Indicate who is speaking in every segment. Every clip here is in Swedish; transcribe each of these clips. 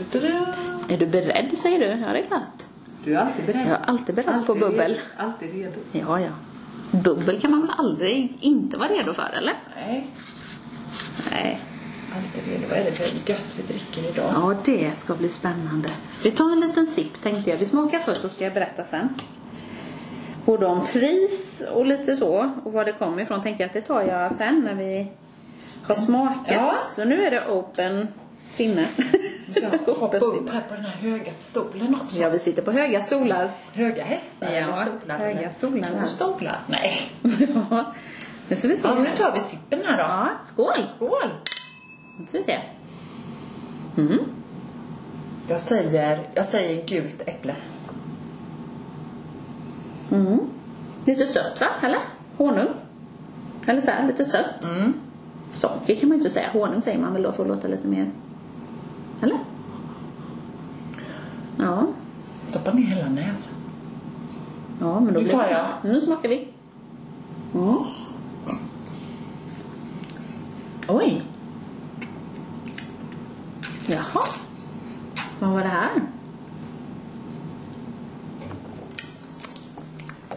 Speaker 1: Tududu. Är du beredd säger du? Ja, det är klart.
Speaker 2: Du är alltid beredd.
Speaker 1: Jag är alltid beredd på bubbel.
Speaker 2: Redo. Alltid redo.
Speaker 1: Ja, ja. Bubbel kan man väl aldrig inte vara redo för, eller?
Speaker 2: Nej,
Speaker 1: Nej.
Speaker 2: alltid redo. Vad är det för gött vi dricker idag?
Speaker 1: Ja, det ska bli spännande. Vi tar en liten sipp tänkte jag. Vi smakar först och ska jag berätta sen. Både om pris och lite så och var det kommer ifrån tänkte jag att det tar jag sen när vi har smakat.
Speaker 2: Ja.
Speaker 1: Så nu är det open sinne.
Speaker 2: Nu ska jag hoppa
Speaker 1: Open
Speaker 2: upp
Speaker 1: sinne.
Speaker 2: här på den här höga stolen också.
Speaker 1: Ja, vi sitter på höga stolar.
Speaker 2: Höga hästar eller
Speaker 1: Ja,
Speaker 2: stolar?
Speaker 1: höga
Speaker 2: eller?
Speaker 1: stolar,
Speaker 2: Två
Speaker 1: ja.
Speaker 2: stolar? Nej.
Speaker 1: ja. Nu ska vi se.
Speaker 2: Ja, men
Speaker 1: här.
Speaker 2: nu tar vi sippen här då.
Speaker 1: Ja, skål!
Speaker 2: Skål!
Speaker 1: Nu ska vi se.
Speaker 2: Jag säger, jag säger gult äpple.
Speaker 1: Lite sött va? Eller? Honung? Eller så här, lite sött.
Speaker 2: Mm.
Speaker 1: Socker kan man ju inte säga. Honung säger man väl då för att låta lite mer... Eller? Ja.
Speaker 2: Stoppa ner hela näsan.
Speaker 1: Ja, men då
Speaker 2: Nu
Speaker 1: blir
Speaker 2: tar
Speaker 1: det
Speaker 2: jag.
Speaker 1: annat. Nu smakar vi. Mm. Oj. Jaha. Vad var det här?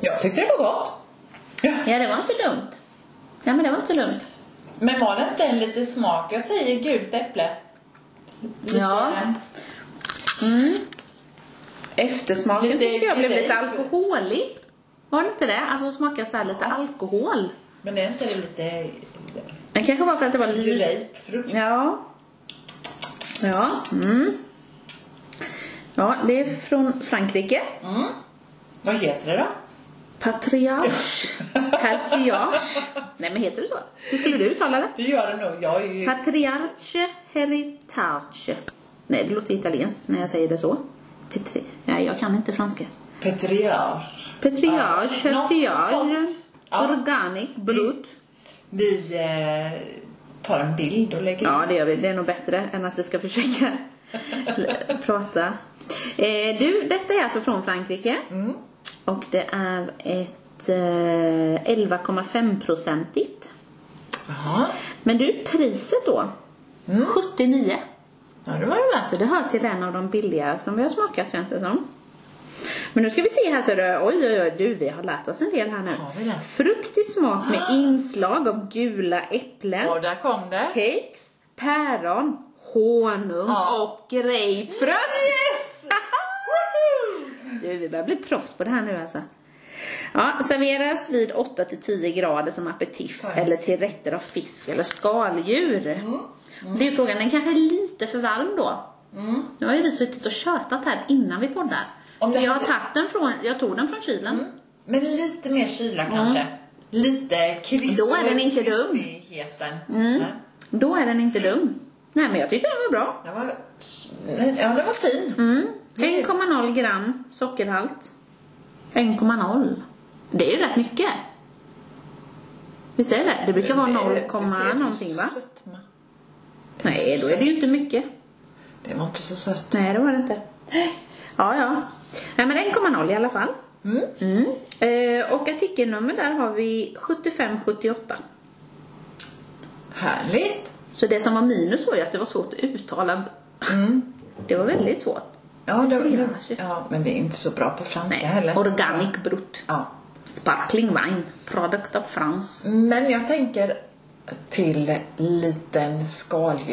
Speaker 2: Jag tyckte det var gott.
Speaker 1: Ja, det var inte dumt. Nej, men det var inte så dumt.
Speaker 2: Men var det inte en lite smak? Jag säger gult äpple. Lite-
Speaker 1: Ja. Mm. Eftersmaken
Speaker 2: Lite-
Speaker 1: tycker jag blev
Speaker 2: lite-
Speaker 1: lite alkoholig. Var det inte det? Alltså smakar så här lite alkohol.
Speaker 2: Men är inte det lite
Speaker 1: Det kanske var för att det var lite...
Speaker 2: grapefrukt?
Speaker 1: Ja. Ja. Mm. Ja, det är från Frankrike.
Speaker 2: Mm. Vad heter det då?
Speaker 1: Patriarch. Hertiage. Nej, men heter det så? Hur skulle du uttala det?
Speaker 2: Det gör det nog. Jag är ju...
Speaker 1: Patriarche Heritage. Nej, det låter italienskt när jag säger det så. Petri... Nej, jag kan inte franska.
Speaker 2: Petriar.
Speaker 1: Petriage,
Speaker 2: Ja, något
Speaker 1: hertiage,
Speaker 2: sånt. Ja.
Speaker 1: organic, brut.
Speaker 2: Vi eh, tar en bild och lägger
Speaker 1: Ja, det gör vi. Det är nog bättre än att vi ska försöka l- prata. Eh, du, detta är alltså från Frankrike.
Speaker 2: Mm.
Speaker 1: Och det är ett eh, 11,5-procentigt.
Speaker 2: Jaha.
Speaker 1: Men du, priset då?
Speaker 2: Mm.
Speaker 1: 79.
Speaker 2: Ja, det var det väl.
Speaker 1: Så det hör till en av de billiga som vi har smakat känns det som. Men nu ska vi se här så du. Oj, oj, oj, du, vi har lärt oss en del här nu.
Speaker 2: Har vi det?
Speaker 1: Fruktig smak med inslag av gula äpplen.
Speaker 2: Och där kom det.
Speaker 1: kex, päron, honung
Speaker 2: Ja.
Speaker 1: och grapefrukt.
Speaker 2: Yes!
Speaker 1: Du, vi börjar bli proffs på det här nu alltså. Ja, serveras vid 8-10 grader som aperitif
Speaker 2: Nice.
Speaker 1: eller till rätter av fisk eller skaldjur. Det är ju frågan, den kanske är lite för varm då.
Speaker 2: Mm.
Speaker 1: Nu har ju vi suttit och tjötat här innan vi poddar.
Speaker 2: Om det Mm.
Speaker 1: jag, har
Speaker 2: hade-
Speaker 1: tagit den från, jag tog den från kylen.
Speaker 2: Men lite mer kyla kanske. Lite
Speaker 1: Mm.
Speaker 2: krispig.
Speaker 1: Då är den inte dum.
Speaker 2: krispigheten.
Speaker 1: Mm.
Speaker 2: Nej.
Speaker 1: Då är den inte dum. Nej, men jag tyckte den var bra.
Speaker 2: Den var, ja, den var fin.
Speaker 1: Mm. 1,0 gram sockerhalt. 1,0. Det är ju rätt mycket. Vi säger det? Det brukar vara 0, komma någonting va?
Speaker 2: Sötma.
Speaker 1: Nej, då är det ju inte mycket.
Speaker 2: Det var inte så sött.
Speaker 1: Nej, det var det inte. Ja, ja. Nej, men 1,0 i alla fall.
Speaker 2: Mm.
Speaker 1: Mm. Eh, och artikelnummer där har vi 7578.
Speaker 2: Härligt.
Speaker 1: Så det som var minus var ju att det var svårt att uttala.
Speaker 2: Mm.
Speaker 1: Det var väldigt svårt.
Speaker 2: Ja, det,
Speaker 1: Det
Speaker 2: det,
Speaker 1: gör sig.
Speaker 2: ja, men vi är inte så bra på franska
Speaker 1: Nej,
Speaker 2: heller.
Speaker 1: organic brut.
Speaker 2: Ja.
Speaker 1: Sparkling wine, product of France.
Speaker 2: Men jag tänker till liten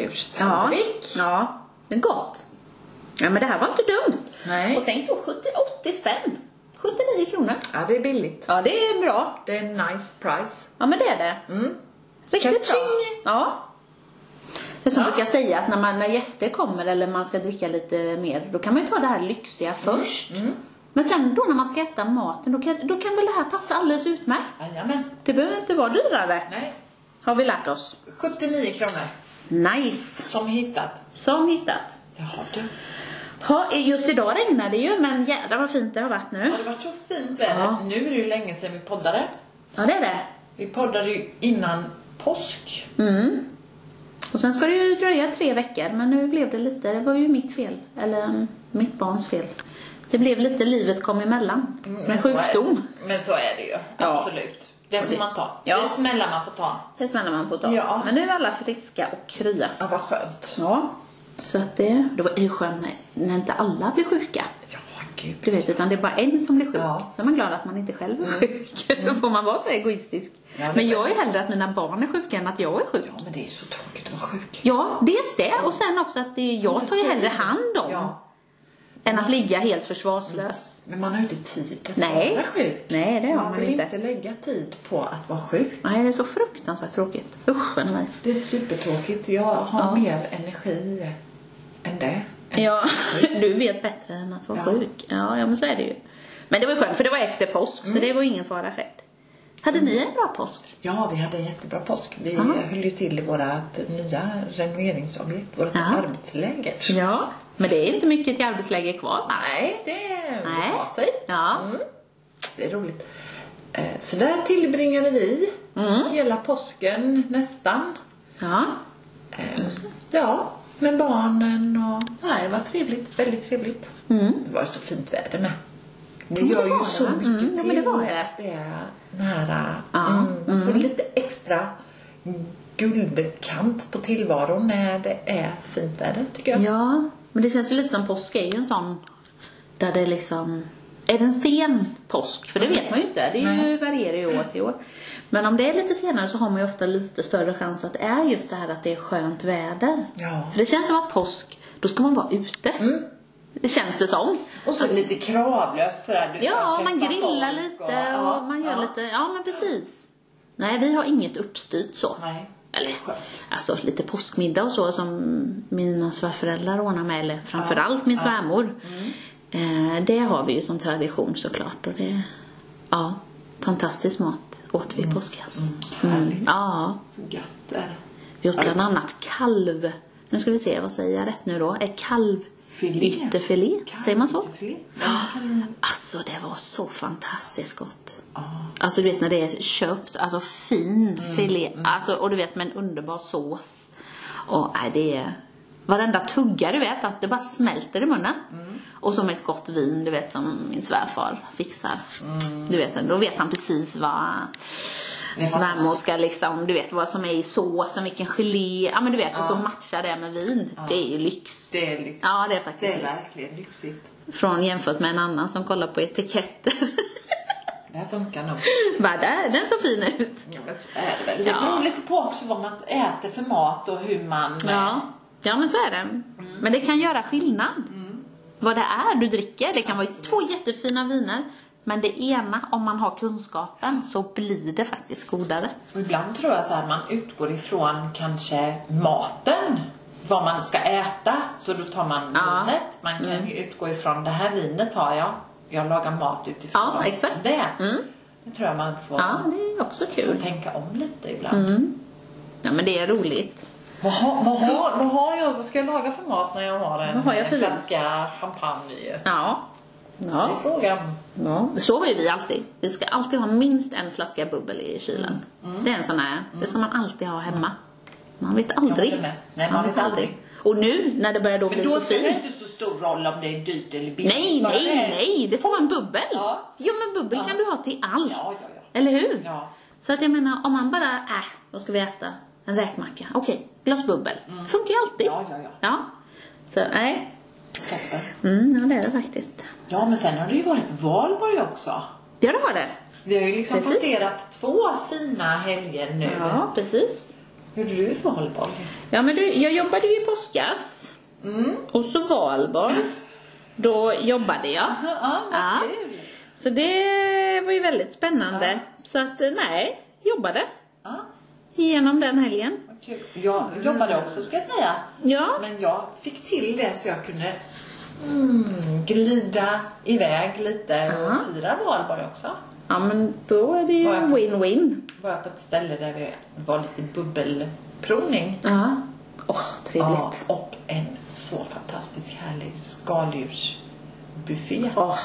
Speaker 2: skaldjurstallrik.
Speaker 1: Ja, det är gott. Ja, men det här var inte dumt.
Speaker 2: Nej.
Speaker 1: Och tänk då 70, 80 spänn. 79 kronor.
Speaker 2: Ja, det är billigt.
Speaker 1: Ja, det är bra.
Speaker 2: Det är en nice price.
Speaker 1: Ja, men det är det.
Speaker 2: Mm.
Speaker 1: Riktigt bra.
Speaker 2: Ka-ching!
Speaker 1: Ja. Det är som
Speaker 2: Ja.
Speaker 1: jag brukar säga att när, man, när gäster kommer eller man ska dricka lite mer, då kan man ju ta det här lyxiga
Speaker 2: Mm.
Speaker 1: först. Men sen då när man ska äta maten, då kan, då kan väl det här passa alldeles utmärkt.
Speaker 2: Jajamän.
Speaker 1: Det behöver inte vara dyrare,
Speaker 2: Nej.
Speaker 1: har vi lärt oss.
Speaker 2: 79 kronor.
Speaker 1: Nice!
Speaker 2: Som hittat.
Speaker 1: Som hittat.
Speaker 2: Jaha du.
Speaker 1: Ha, just idag regnade det ju, men jädrar vad fint det har varit nu.
Speaker 2: Har det varit så fint väder?
Speaker 1: Ja.
Speaker 2: Nu är det ju länge sedan vi poddade.
Speaker 1: Ja, det är det.
Speaker 2: Vi poddade ju innan påsk.
Speaker 1: Mm. Och sen ska det ju dröja tre veckor, men nu blev det lite, det var ju mitt fel, eller mm, mitt barns fel. Det blev lite, livet kom emellan. med
Speaker 2: Mm, så är det.
Speaker 1: sjukdom.
Speaker 2: Men så är det ju.
Speaker 1: Ja.
Speaker 2: Absolut. Det får
Speaker 1: det-
Speaker 2: man ta.
Speaker 1: Ja.
Speaker 2: Det smällar man får ta.
Speaker 1: Det smäller man på dagen.
Speaker 2: Ja.
Speaker 1: Men nu är alla friska och krya.
Speaker 2: Ja, vad skönt.
Speaker 1: Ja. Så att det, då är det skönt när, när inte alla blir sjuka.
Speaker 2: Ja, gud.
Speaker 1: Du vet, utan det är bara en som blir sjuk.
Speaker 2: Ja. Mm.
Speaker 1: Så är man glad att man inte själv är sjuk. Då får man vara så egoistisk.
Speaker 2: Ja, det-
Speaker 1: men jag är hellre att mina barn är sjuka än att jag är sjuk.
Speaker 2: Ja, men det är så tråkigt att vara sjuk.
Speaker 1: Ja, dels det och sen också att det är jag tar ju hellre hand om
Speaker 2: Ja,
Speaker 1: än att ligga helt försvarslös.
Speaker 2: men man har ju inte tid att
Speaker 1: Nej.
Speaker 2: vara sjuk.
Speaker 1: Nej, det har
Speaker 2: man
Speaker 1: man
Speaker 2: vill
Speaker 1: inte.
Speaker 2: inte lägga tid på att vara sjuk.
Speaker 1: Nej, det är så fruktansvärt tråkigt. Usch, vad nej.
Speaker 2: Det är supertråkigt. Jag har mer energi än det.
Speaker 1: Ja, du vet bättre än att vara
Speaker 2: Ja.
Speaker 1: sjuk. Ja, ja, men så är det ju. Men det var ju skönt, för det var efter påsk, så det var ingen fara skedd. Hade ni en bra påsk?
Speaker 2: Ja, vi hade en jättebra påsk. Vi
Speaker 1: Aha.
Speaker 2: höll ju till i vårt nya renoveringsobjekt, vårt
Speaker 1: Ja.
Speaker 2: arbetsläger.
Speaker 1: Ja. Men det är inte mycket till arbetsläger kvar. va?
Speaker 2: Nej, det
Speaker 1: Nej.
Speaker 2: tar sig.
Speaker 1: Ja.
Speaker 2: Mm. Det är roligt. Eh, Så där tillbringade vi
Speaker 1: Mm.
Speaker 2: hela påsken nästan.
Speaker 1: Ja.
Speaker 2: Eh, Ja, med barnen och... Nej, det var trevligt. Väldigt trevligt. Det var ju så fint väder med. Det
Speaker 1: men
Speaker 2: gör
Speaker 1: Mm. det
Speaker 2: ju
Speaker 1: var
Speaker 2: så
Speaker 1: det, va?
Speaker 2: mycket
Speaker 1: Mm, ja,
Speaker 2: till
Speaker 1: men det var det.
Speaker 2: att det är nära.
Speaker 1: Ja,
Speaker 2: Mm, man får lite extra guldkant på tillvaron när det är fint väder, tycker jag.
Speaker 1: Ja, men det känns ju lite som påsk är ju en sån där det liksom... Är det en sen påsk? För det vet man ju inte. Det är ju varierar ju år till år. Men om det är lite senare så har man ju ofta lite större chans att det är just det här att det är skönt väder.
Speaker 2: Ja.
Speaker 1: För det känns som att påsk, då ska man vara ute. Det känns det som.
Speaker 2: Och så lite kravlöst sådär. Du ska
Speaker 1: Ja,
Speaker 2: träffa
Speaker 1: man grillar
Speaker 2: folk
Speaker 1: lite och man gör
Speaker 2: ja.
Speaker 1: lite, ja men precis. Nej, vi har inget uppstyrt så.
Speaker 2: Nej.
Speaker 1: Eller,
Speaker 2: Skönt.
Speaker 1: alltså lite påskmiddag och så som mina svärföräldrar ordnar med, eller framförallt min svärmor.
Speaker 2: Mm.
Speaker 1: Eh, det har vi ju som tradition såklart och det, ja, fantastisk mat åt vi i påskas. Mm. Ja,
Speaker 2: Så gött är det.
Speaker 1: vi åt bland annat kalv. Nu ska vi se, vad säger jag rätt nu då? Är kalv
Speaker 2: Filé.
Speaker 1: ytterfilé? Säger man så?
Speaker 2: Kalvfilé.
Speaker 1: Alltså det var så fantastiskt gott. Alltså du vet när det är köpt, alltså fin
Speaker 2: Mm.
Speaker 1: filé, alltså, och du vet med en underbar sås. Och nej, det är varenda tugga du vet, att det bara smälter i munnen.
Speaker 2: Mm.
Speaker 1: Och som ett gott vin, du vet som min svärfar fixar. Du vet, då vet han precis vad
Speaker 2: Mm. Det var-
Speaker 1: svärmor ska liksom, du vet vad som är i såsen, vilken gelé, ja men du vet, och så matchar det med vin. Det är ju lyx.
Speaker 2: Det är lyxigt.
Speaker 1: Ja, det är
Speaker 2: Det
Speaker 1: faktiskt
Speaker 2: är
Speaker 1: lyx.
Speaker 2: verkligen lyxigt.
Speaker 1: Från jämfört med en annan som kollar på etiketter.
Speaker 2: Det här funkar nog.
Speaker 1: Bara där, den såg fin ut.
Speaker 2: Ja, men så är det väl. Det
Speaker 1: Ja.
Speaker 2: beror lite på också vad man äter för mat och hur man...
Speaker 1: Ja. ja, men så är det. Men det kan göra skillnad. Vad det är du dricker. Det kan vara två jättefina viner. Men det ena, om man har kunskapen, så blir det faktiskt godare.
Speaker 2: Och ibland tror jag så här, man utgår ifrån kanske maten. Vad man ska äta. Så då tar man
Speaker 1: Ja. Mm.
Speaker 2: vinet. Man kan ju utgå ifrån, det här vinet har jag. Jag lagar mat utifrån
Speaker 1: Ja,
Speaker 2: vad
Speaker 1: exakt. Mm.
Speaker 2: det är. Det tror jag man får,
Speaker 1: Ja, Mm. det är också
Speaker 2: får
Speaker 1: kul.
Speaker 2: tänka om lite ibland.
Speaker 1: Ja, men det är roligt.
Speaker 2: Vad har, vad, har, vad har jag, vad ska jag laga för mat när jag har en,
Speaker 1: Vad har jag
Speaker 2: en
Speaker 1: för-
Speaker 2: flaska champagne?
Speaker 1: Ja.
Speaker 2: Det är
Speaker 1: Ja.
Speaker 2: frågan.
Speaker 1: ja. Så är vi alltid. Vi ska alltid ha minst en flaska bubbel i kylen.
Speaker 2: Mm.
Speaker 1: Det är en sån här, det ska man alltid ha hemma. Man vet aldrig.
Speaker 2: håller med. Nej, man vet aldrig.
Speaker 1: Och nu, när det börjar då
Speaker 2: Men
Speaker 1: bli
Speaker 2: då
Speaker 1: så
Speaker 2: spelar det
Speaker 1: fint.
Speaker 2: inte så stor roll om det är dyrt eller billigt.
Speaker 1: Nej,
Speaker 2: Bara det
Speaker 1: nej,
Speaker 2: är-
Speaker 1: nej. Det ska vara en bubbel.
Speaker 2: Ja.
Speaker 1: Jo, men bubbel kan du ha till allt.
Speaker 2: Ja, ja, ja.
Speaker 1: Eller hur?
Speaker 2: Ja.
Speaker 1: Så att jag menar, om man bara, äh, vad ska vi äta? En räkmacka. Okej, glas bubbel. Funkar ju alltid.
Speaker 2: Mm. Ja, ja, ja.
Speaker 1: Så, nej.
Speaker 2: Toppen.
Speaker 1: Mm, ja, det är det faktiskt.
Speaker 2: Ja, men sen har det ju varit valborg också.
Speaker 1: Ja, det har det.
Speaker 2: Vi har ju liksom
Speaker 1: Precis.
Speaker 2: passerat två fina helger nu.
Speaker 1: Ja, precis.
Speaker 2: Hur är du för valborg?
Speaker 1: Ja, men du, jag jobbade ju i påskas. Och så valborg. Då jobbade jag.
Speaker 2: Ja, vad
Speaker 1: Ja.
Speaker 2: kul.
Speaker 1: Så det var ju väldigt spännande. Så att, eh, nej, jobbade.
Speaker 2: Ja,
Speaker 1: Igenom den helgen.
Speaker 2: vad kul. Jag jobbade
Speaker 1: Mm.
Speaker 2: också ska jag säga.
Speaker 1: Ja.
Speaker 2: Men jag fick till det så jag kunde mm, glida iväg lite och
Speaker 1: Ja.
Speaker 2: fira valborg också.
Speaker 1: Ja, men då är det ju
Speaker 2: Ja, ja.
Speaker 1: win-win.
Speaker 2: Var jag på ett ställe där vi var lite bubbelprovning.
Speaker 1: Ja. Åh,
Speaker 2: Ja,
Speaker 1: trevligt.
Speaker 2: och en så fantastisk härlig skaldjursbuffé.
Speaker 1: Åh.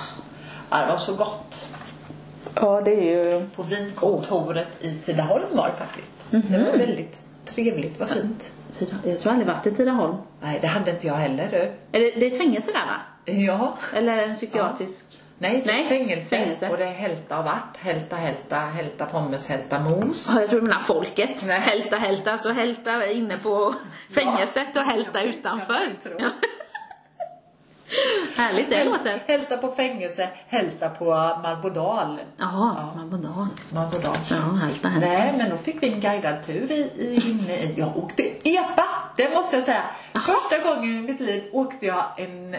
Speaker 2: Ja, det var så gott.
Speaker 1: Ja, det är ju...
Speaker 2: På vinkontoret i Tidaholm var det faktiskt. Det
Speaker 1: Mhm.
Speaker 2: var väldigt trevligt, vad fint.
Speaker 1: Jag tror aldrig varit i Tidaholm.
Speaker 2: Nej, det hade inte jag heller du.
Speaker 1: Är det, det är ett fängelse där, va?
Speaker 2: Ja.
Speaker 1: Eller en psykiatrisk?
Speaker 2: Nej, det är
Speaker 1: Nej,
Speaker 2: fängelse.
Speaker 1: fängelse.
Speaker 2: Och det är hälta av vart. Hälta, hälta, hälta pommes, hälta mos.
Speaker 1: Ja, jag tror du menar folket.
Speaker 2: Nej.
Speaker 1: Hälta, hälta. Alltså hälta inne på fängelset och hälta utanför.
Speaker 2: jag tror.
Speaker 1: Ja. Härligt det låter.
Speaker 2: Hälta på fängelse, hälta på Marbodal.
Speaker 1: Jaha, man bodde av.
Speaker 2: Marbodal.
Speaker 1: Ja, hälta, hälta.
Speaker 2: Nej, men då fick vi en guidad tur i, i, inne i... Jag åkte EPA, det måste jag säga. Första gången i mitt liv åkte jag en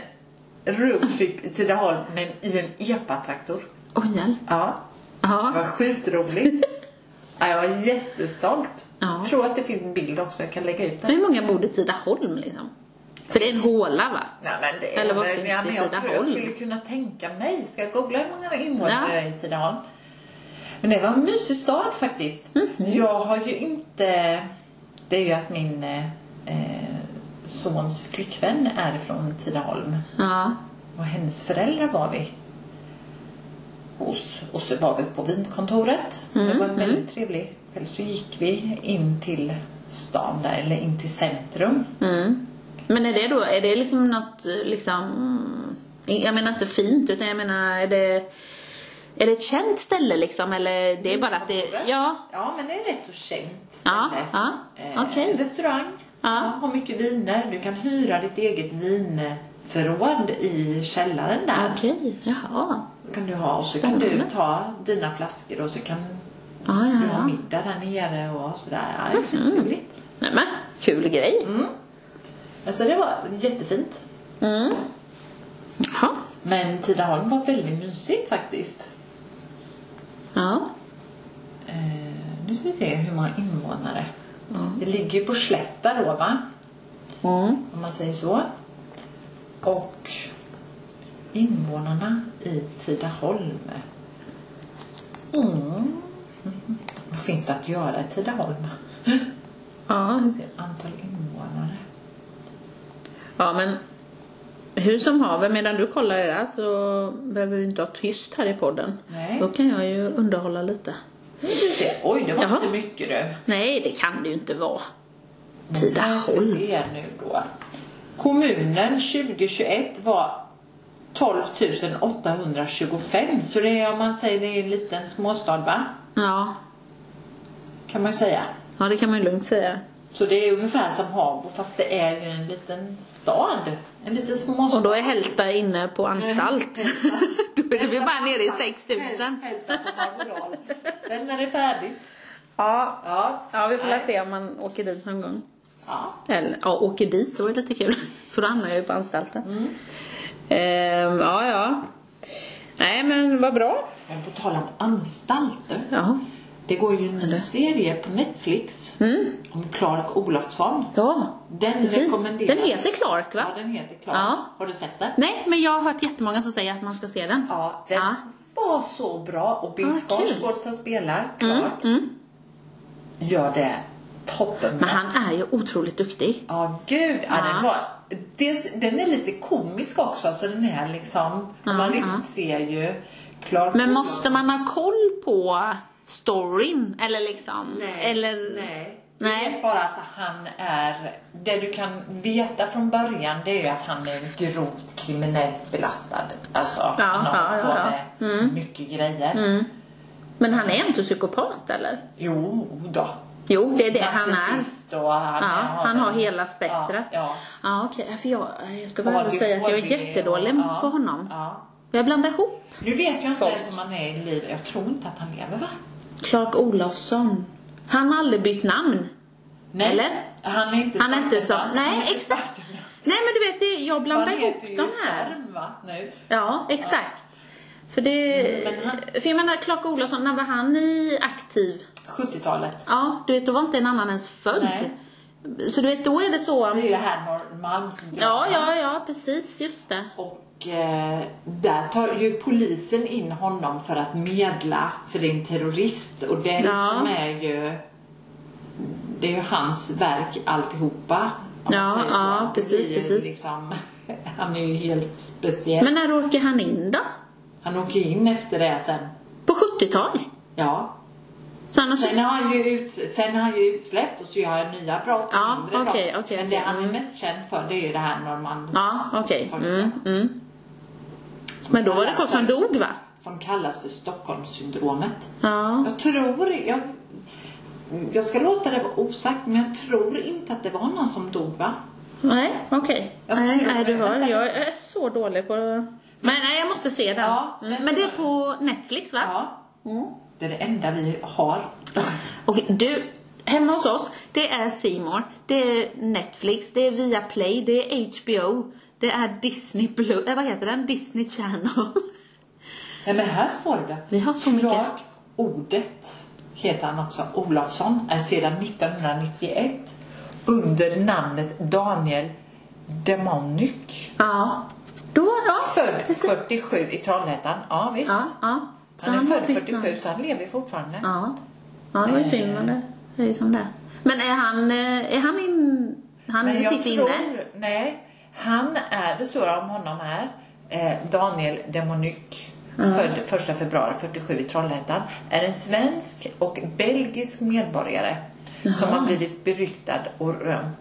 Speaker 2: roadtrip i Tidaholm, men i en EPA-traktor.
Speaker 1: Oj, hjälp.
Speaker 2: Ja, det
Speaker 1: Ja.
Speaker 2: var skitroligt. Ja, jag var jättestolt.
Speaker 1: Ja.
Speaker 2: Jag tror att det finns bild också, jag kan lägga ut
Speaker 1: Men
Speaker 2: den.
Speaker 1: hur många bor i Tidaholm liksom? För det är en håla va?
Speaker 2: Nej, men det,
Speaker 1: Eller vad
Speaker 2: men-
Speaker 1: fint
Speaker 2: ja, men
Speaker 1: i
Speaker 2: jag tror jag
Speaker 1: Tidaholm.
Speaker 2: skulle kunna tänka mig. Ska jag googla hur många invånare det är i Tidaholm? Men det var en mysig stad faktiskt.
Speaker 1: Mhm.
Speaker 2: Jag har ju inte... Det är ju att min eh, eh, sons flickvän är från Tidaholm.
Speaker 1: Ja.
Speaker 2: Och hennes föräldrar var vi hos. Och så var vi på vinkontoret. det
Speaker 1: Mhm,
Speaker 2: var väldigt trevligt. Eller så gick vi in till stan där, eller in till centrum.
Speaker 1: Mm. Men är det då, är det liksom något eh, liksom... mm, Jag menar inte fint utan jag menar är det... Är det ett känt ställe liksom eller det är bara att det... Ja.
Speaker 2: Ja, men det är rätt så känt
Speaker 1: Ja,
Speaker 2: ställe.
Speaker 1: ja,
Speaker 2: Eh,
Speaker 1: okej.
Speaker 2: Restaurang.
Speaker 1: Ja.
Speaker 2: har mycket viner. Du kan hyra ditt eget vinförråd i källaren där.
Speaker 1: Okej, jaha.
Speaker 2: Då kan du ha och så kan du
Speaker 1: Spännande.
Speaker 2: ta dina flaskor och så kan
Speaker 1: Ja, ja,
Speaker 2: du ha
Speaker 1: ja. Mhm.
Speaker 2: middag där nere och sådär. Ja, det är trevligt.
Speaker 1: Nämen, kul grej.
Speaker 2: Alltså det var jättefint.
Speaker 1: Mm. Jaha.
Speaker 2: Men Tidaholm var väldigt mysigt faktiskt.
Speaker 1: Ja.
Speaker 2: Eh, nu ska vi se hur många invånare. Det ligger ju på slätta då va?
Speaker 1: Mm.
Speaker 2: Om man säger så. Och invånarna i Tidaholm. Mm. Vad finns det att göra i Tidaholm?
Speaker 1: Ja,
Speaker 2: Vi ser Antal invånare.
Speaker 1: Ja, men hur som haver, medan du kollar det där så behöver vi inte ha tyst här i podden.
Speaker 2: Nej.
Speaker 1: Då kan jag ju underhålla lite.
Speaker 2: Nu ska vi se. Oj, det var
Speaker 1: Jaha.
Speaker 2: inte mycket du.
Speaker 1: Nej, det kan det ju inte vara.
Speaker 2: Jag ska
Speaker 1: Tidaholm.
Speaker 2: se nu då. Kommunen 2021 var 12 825. Så det är om man säger det är en liten småstad va?
Speaker 1: Ja.
Speaker 2: Kan man ju säga.
Speaker 1: ja, det kan man ju lugnt säga.
Speaker 2: Så det är ungefär som Habo fast det är ju en liten stad. En liten småstad.
Speaker 1: Och då är Hälta inne på anstalt. då är det väl bara nere i 6 000.
Speaker 2: Hälften på Marmoral. Sen är det färdigt.
Speaker 1: Ja.
Speaker 2: Ja.
Speaker 1: ja, vi får väl se om man åker dit någon gång.
Speaker 2: ja.
Speaker 1: Eller, ja, åker dit, det var ju lite kul. För då hamnar jag ju på anstalten. Ehm, ja, ja. Nej, men vad bra.
Speaker 2: Men på tal om anstalter.
Speaker 1: Ja.
Speaker 2: Det går ju en ny serie på Netflix om Clark Olofsson.
Speaker 1: Ja,
Speaker 2: Den
Speaker 1: Mm. precis.
Speaker 2: rekommenderas.
Speaker 1: Den heter Clark, va?
Speaker 2: Ja, den heter Clark.
Speaker 1: Ja.
Speaker 2: Har du sett den?
Speaker 1: Nej, men jag har hört jättemånga som säger att man ska se den.
Speaker 2: Ja, den
Speaker 1: Ja.
Speaker 2: var så bra och Bill
Speaker 1: Ah, kul. Mm,
Speaker 2: Skarsgård som spelar Clark gör det toppen.
Speaker 1: Men han är ju otroligt duktig.
Speaker 2: Ja, gud. Ja,
Speaker 1: Ja.
Speaker 2: Den, var, dels, den är lite komisk också, så den är liksom...
Speaker 1: Ja,
Speaker 2: man
Speaker 1: ja.
Speaker 2: riktigt ser ju Clark
Speaker 1: Men måste man ha koll på storyn? Eller liksom...
Speaker 2: Nej.
Speaker 1: eller...
Speaker 2: Nej.
Speaker 1: Nej.
Speaker 2: Det är bara att han är... Det du kan veta från början det är ju att han är grovt kriminellt belastad. Alltså, han har
Speaker 1: ja,
Speaker 2: hållit på
Speaker 1: ja, Mm.
Speaker 2: med mycket grejer.
Speaker 1: Men han är inte psykopat, eller?
Speaker 2: Jo då.
Speaker 1: Jo, det är det han är.
Speaker 2: Narcissist och han,
Speaker 1: Ja,
Speaker 2: är-
Speaker 1: han har hela spektrat.
Speaker 2: Ja,
Speaker 1: Ja, okej. Ja, för jag, jag ska
Speaker 2: ja.
Speaker 1: vara ärlig och säga att jag är
Speaker 2: ADHD och-
Speaker 1: jättedålig
Speaker 2: ja,
Speaker 1: på honom.
Speaker 2: Ja.
Speaker 1: Jag blandar ihop.
Speaker 2: Nu vet jag inte
Speaker 1: Folk.
Speaker 2: ens om han är i liv. Jag tror inte att han lever va?
Speaker 1: Clark Olofsson. Han har aldrig bytt namn.
Speaker 2: Nej.
Speaker 1: Eller?
Speaker 2: Han är inte
Speaker 1: Han är inte så...
Speaker 2: Svartenbrandt. Han är
Speaker 1: Nej,
Speaker 2: inte
Speaker 1: exakt.
Speaker 2: Svartenbrandt.
Speaker 1: Nej, men du vet, det, jag
Speaker 2: Han
Speaker 1: blandar ihop
Speaker 2: heter ju
Speaker 1: de här.
Speaker 2: Ferm va? Nu.
Speaker 1: Ja, exakt. För det...
Speaker 2: Mm, men han-
Speaker 1: För jag menar, Clark Olofsson, när var han i aktiv?
Speaker 2: 70-talet.
Speaker 1: Ja, du vet, då var inte en annan ens född. Så du vet, då är det
Speaker 2: Det är
Speaker 1: så...
Speaker 2: ju det här Norrmalms
Speaker 1: Ja, ja, ja, precis, just det.
Speaker 2: Och eh, där tar ju polisen in honom för att medla, för det är en terrorist. Och det
Speaker 1: Ja.
Speaker 2: som är ju... Det är ju hans verk alltihopa. om
Speaker 1: Ja,
Speaker 2: man säger så.
Speaker 1: ja,
Speaker 2: Det blir
Speaker 1: precis,
Speaker 2: ju
Speaker 1: precis.
Speaker 2: Liksom, han är ju helt speciell.
Speaker 1: Men när åker han in då?
Speaker 2: Han åker in efter det sen.
Speaker 1: På 70-tal?
Speaker 2: Ja.
Speaker 1: Så han har...
Speaker 2: Sen har han ju, ut, sen har han ju utsläppt och så gör han nya brott och
Speaker 1: Ja,
Speaker 2: mindre
Speaker 1: okej,
Speaker 2: brott.
Speaker 1: okej,
Speaker 2: Men det
Speaker 1: okej,
Speaker 2: han är
Speaker 1: mm.
Speaker 2: mest känd för det är ju det här Norrmalms...
Speaker 1: Ja, okej.
Speaker 2: torget.
Speaker 1: Mm, mm. Men då var det folk som dog va?
Speaker 2: som kallas för Stockholmssyndromet.
Speaker 1: Ja.
Speaker 2: Jag tror, jag, jag ska låta det vara osagt, men jag tror inte att det var någon som dog va?
Speaker 1: Nej, okej.
Speaker 2: Jag
Speaker 1: Nej,
Speaker 2: tror
Speaker 1: nej, du
Speaker 2: det.
Speaker 1: hör. Jag är så dålig på... Men nej, jag måste se den.
Speaker 2: Ja,
Speaker 1: Mm,
Speaker 2: men-
Speaker 1: men det är på Netflix va?
Speaker 2: Ja.
Speaker 1: Mm.
Speaker 2: Det är det enda vi har.
Speaker 1: Okej, du. Hemma hos oss, det är Seymour, det är Netflix, det är Viaplay, det är HBO, det är Disney Blue, äh, vad heter den? Disney Channel.
Speaker 2: Nej men här står det.
Speaker 1: Vi har så mycket.
Speaker 2: Clark Ordet heter han också. Olofsson är sedan 1991 under namnet Daniel Demonic.
Speaker 1: Ja. Då, ja.
Speaker 2: Född 47 i Trollhättan. Ja visst.
Speaker 1: Ja, ja.
Speaker 2: han är född
Speaker 1: har bytt namn.
Speaker 2: 47 så han lever fortfarande.
Speaker 1: Ja. Ja, det var ju
Speaker 2: Eh.
Speaker 1: synd men det. Det är ju som det är. Men är han, eh, är han in... Han
Speaker 2: Men jag
Speaker 1: sitter
Speaker 2: tror,
Speaker 1: inne?
Speaker 2: Nej, han är, det står om honom här, eh, Daniel Demonic. Född 1 februari 47 i Trollhättan. Är en svensk och belgisk medborgare. Som har blivit beryktad och rönt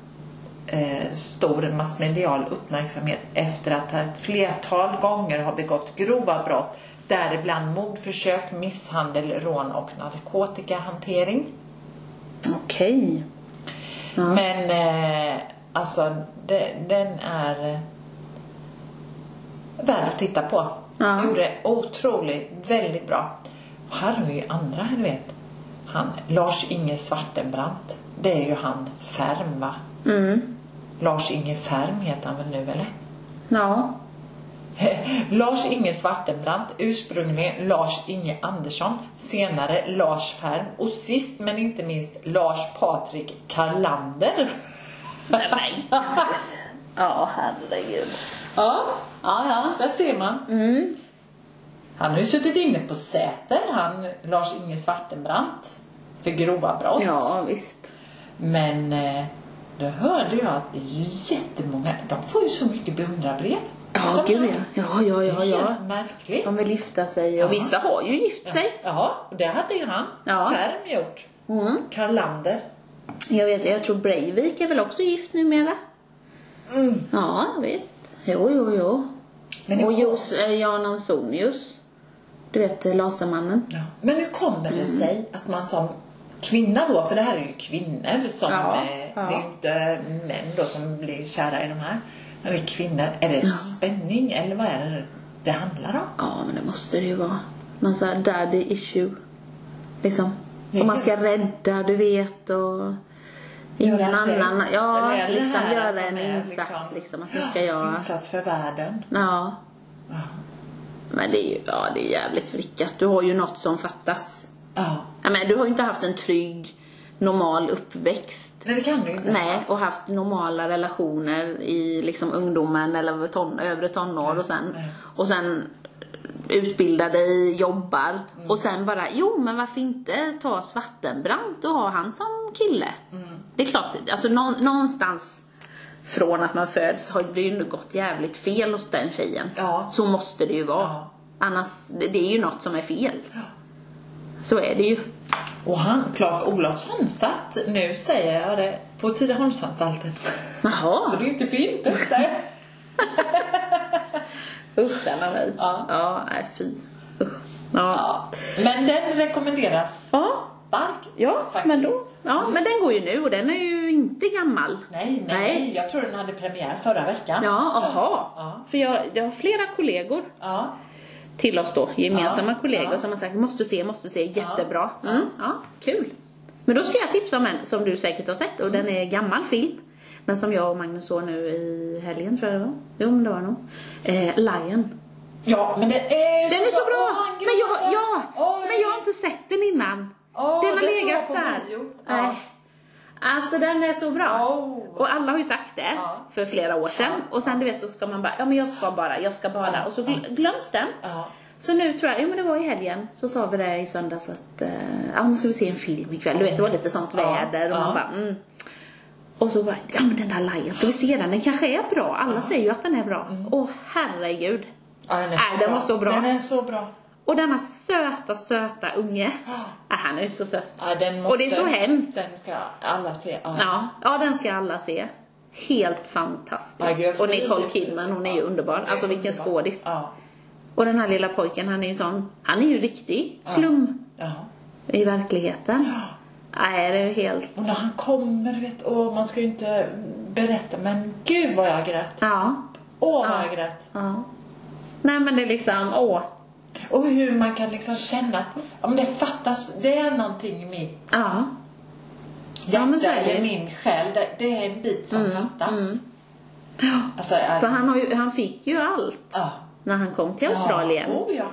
Speaker 2: eh, stor massmedial uppmärksamhet efter att han ett flertal gånger har begått grova brott. Däribland mordförsök, misshandel, rån och narkotikahantering.
Speaker 1: Okej.
Speaker 2: Men eh, alltså de, den är eh, värd att titta på.
Speaker 1: Ja.
Speaker 2: Gjorde otroligt, väldigt bra. Och här har vi ju andra, du vet. Han, Lars-Inge Svartenbrandt. Det är ju han Färm va?
Speaker 1: Mm.
Speaker 2: Lars-Inge Färm heter han väl nu eller?
Speaker 1: Ja.
Speaker 2: Lars-Inge Svartenbrandt, ursprungligen Lars-Inge Andersson, senare Lars Färm och sist men inte minst Lars Patrik Karlander.
Speaker 1: Nej, men. Ja, herregud.
Speaker 2: Ja,
Speaker 1: Ja, ja.
Speaker 2: Där ser man.
Speaker 1: Mm.
Speaker 2: Han har ju suttit inne på Säter, han Lars-Inge Svartenbrandt, för grova brott.
Speaker 1: Ja, visst.
Speaker 2: Men eh, då hörde jag att det är ju jättemånga, de får ju så mycket beundrarbrev.
Speaker 1: Ja,
Speaker 2: De
Speaker 1: gud
Speaker 2: här.
Speaker 1: ja. Ja, ja,
Speaker 2: Det är
Speaker 1: ja, ja.
Speaker 2: helt märkligt.
Speaker 1: De vill lyfta sig och
Speaker 2: Ja.
Speaker 1: vissa har ju gift sig.
Speaker 2: Ja, och det hade ju han,
Speaker 1: Ja.
Speaker 2: Färm, gjort.
Speaker 1: Mm.
Speaker 2: Karlander.
Speaker 1: Jag vet, jag tror Breivik är väl också gift numera?
Speaker 2: Mm.
Speaker 1: Ja, visst. Jo, jo, jo.
Speaker 2: Men det
Speaker 1: och
Speaker 2: var-
Speaker 1: Jos, eh, Jan Ausonius. Du vet eh, Lasermannen.
Speaker 2: Ja. Men hur kommer det
Speaker 1: Mm.
Speaker 2: sig att man som kvinna då, för det här är ju kvinnor som,
Speaker 1: Ja,
Speaker 2: eh,
Speaker 1: ja.
Speaker 2: det är ju inte män då som blir kära i de här. Men vi kvinnor, är det spänning eller vad är det det handlar om?
Speaker 1: Ja, men det måste det ju vara. Någon sån här daddy issue. Liksom. Och man ska rädda, du vet, och ingen
Speaker 2: Göra sig-
Speaker 1: annan. Ja,
Speaker 2: Eller är det
Speaker 1: liksom
Speaker 2: här
Speaker 1: göra
Speaker 2: som
Speaker 1: en
Speaker 2: är
Speaker 1: insats liksom. Att nu ska jag...
Speaker 2: Insats för världen.
Speaker 1: Ja. Men det är ju, ja det är jävligt vrickat. Du har ju något som fattas.
Speaker 2: Ja.
Speaker 1: Ja, men du har ju inte haft en trygg, normal uppväxt.
Speaker 2: Nej, det kan du ju inte.
Speaker 1: Nej, och haft normala relationer i liksom ungdomen eller ton, övre tonår och sen,
Speaker 2: nej.
Speaker 1: och sen utbildar dig, jobbar
Speaker 2: Mm.
Speaker 1: och sen bara, jo men varför inte ta Svartenbrandt och ha han som kille?
Speaker 2: Mm.
Speaker 1: Det är klart, alltså nå, någonstans från att man föds har det ju gått jävligt fel hos den tjejen.
Speaker 2: Ja.
Speaker 1: Så måste det ju vara.
Speaker 2: Ja.
Speaker 1: Annars, det, det är ju något som är fel.
Speaker 2: Ja.
Speaker 1: Så är det ju.
Speaker 2: Och han, Clark Olofsson, satt nu, säger jag det, på Tidaholmsanstalten.
Speaker 1: Jaha.
Speaker 2: Så det är inte fint inte.
Speaker 1: Usch, den har vi.
Speaker 2: Ja.
Speaker 1: ja nej, fy. Usch. Ja.
Speaker 2: Ja. Men den rekommenderas
Speaker 1: Ja,
Speaker 2: starkt.
Speaker 1: ja
Speaker 2: faktiskt.
Speaker 1: men då. Ja, men den går ju nu och den är ju inte gammal.
Speaker 2: Nej, nej,
Speaker 1: Nej.
Speaker 2: Jag tror den hade premiär förra veckan.
Speaker 1: Ja, aha.
Speaker 2: Ja.
Speaker 1: För jag, jag har flera kollegor
Speaker 2: Ja.
Speaker 1: till oss då, gemensamma
Speaker 2: Ja,
Speaker 1: kollegor
Speaker 2: ja.
Speaker 1: som har sagt måste se, måste se, jättebra. Mm, ja, kul. Men då ska jag tipsa om en som du säkert har sett och den är gammal film. Men som jag och Magnus såg nu i helgen tror jag det var. Jo men det var det nog. Eh, Lion.
Speaker 2: Ja, men det är
Speaker 1: Den är så bra!
Speaker 2: Åh, han
Speaker 1: men, jag,
Speaker 2: gråter.
Speaker 1: ja,
Speaker 2: Oj.
Speaker 1: men jag har inte sett den innan.
Speaker 2: Åh,
Speaker 1: den har
Speaker 2: det såg
Speaker 1: legat
Speaker 2: jag på
Speaker 1: så här.
Speaker 2: bio. Ja.
Speaker 1: Nej. Alltså den är så bra.
Speaker 2: Åh.
Speaker 1: Och alla har ju sagt det
Speaker 2: Ja.
Speaker 1: för flera år sedan. Och sen du vet så ska man bara, ja men jag ska bara, jag ska bara.
Speaker 2: Ja.
Speaker 1: Och så gl- glöms den.
Speaker 2: Ja.
Speaker 1: Så nu tror jag, ja men det var i helgen, så sa vi det i söndags att, eh, ja men ska vi se en film ikväll? Du vet det var lite sånt
Speaker 2: Ja.
Speaker 1: väder och
Speaker 2: Ja.
Speaker 1: man bara, mm. Och så bara, ja men den där Lion, ska vi se den? Den kanske är bra. Alla säger ju att den är bra.
Speaker 2: Mm.
Speaker 1: Åh herregud.
Speaker 2: Ja, den, är
Speaker 1: Nej, den var så bra.
Speaker 2: Den är så bra.
Speaker 1: Och denna söta, söta unge.
Speaker 2: Ja.
Speaker 1: Ah, han är ju så söt.
Speaker 2: Ja, den måste,
Speaker 1: Och det är så hemskt.
Speaker 2: Den ska alla se. Ja.
Speaker 1: Ja, ja den ska alla se. Helt fantastisk.
Speaker 2: Ja, gud, jag
Speaker 1: och
Speaker 2: får
Speaker 1: Nicole
Speaker 2: ju-
Speaker 1: Kidman, hon är ju
Speaker 2: Ja.
Speaker 1: underbar. Alltså vilken
Speaker 2: Underbar.
Speaker 1: skådis.
Speaker 2: Ja.
Speaker 1: Och den här lilla pojken, han är ju sån, han är ju riktig slum
Speaker 2: Ja.
Speaker 1: i verkligheten. Nej, det är ju helt...
Speaker 2: Och när han kommer, vet och man ska ju inte berätta, men gud vad jag grät.
Speaker 1: Ja.
Speaker 2: Åh, vad jag grät.
Speaker 1: ja. Nej, men det är liksom, åh.
Speaker 2: Och hur man kan liksom känna att ja, men det fattas, det är någonting i mitt
Speaker 1: Ja. Ja, men
Speaker 2: hjärta
Speaker 1: så är det. Mm,
Speaker 2: eller min själ. Det, det är en bit som fattas. Alltså,
Speaker 1: För
Speaker 2: ja.
Speaker 1: han, har ju, han fick ju allt
Speaker 2: ja.
Speaker 1: när han kom till Australien.
Speaker 2: Ja. Oh, ja.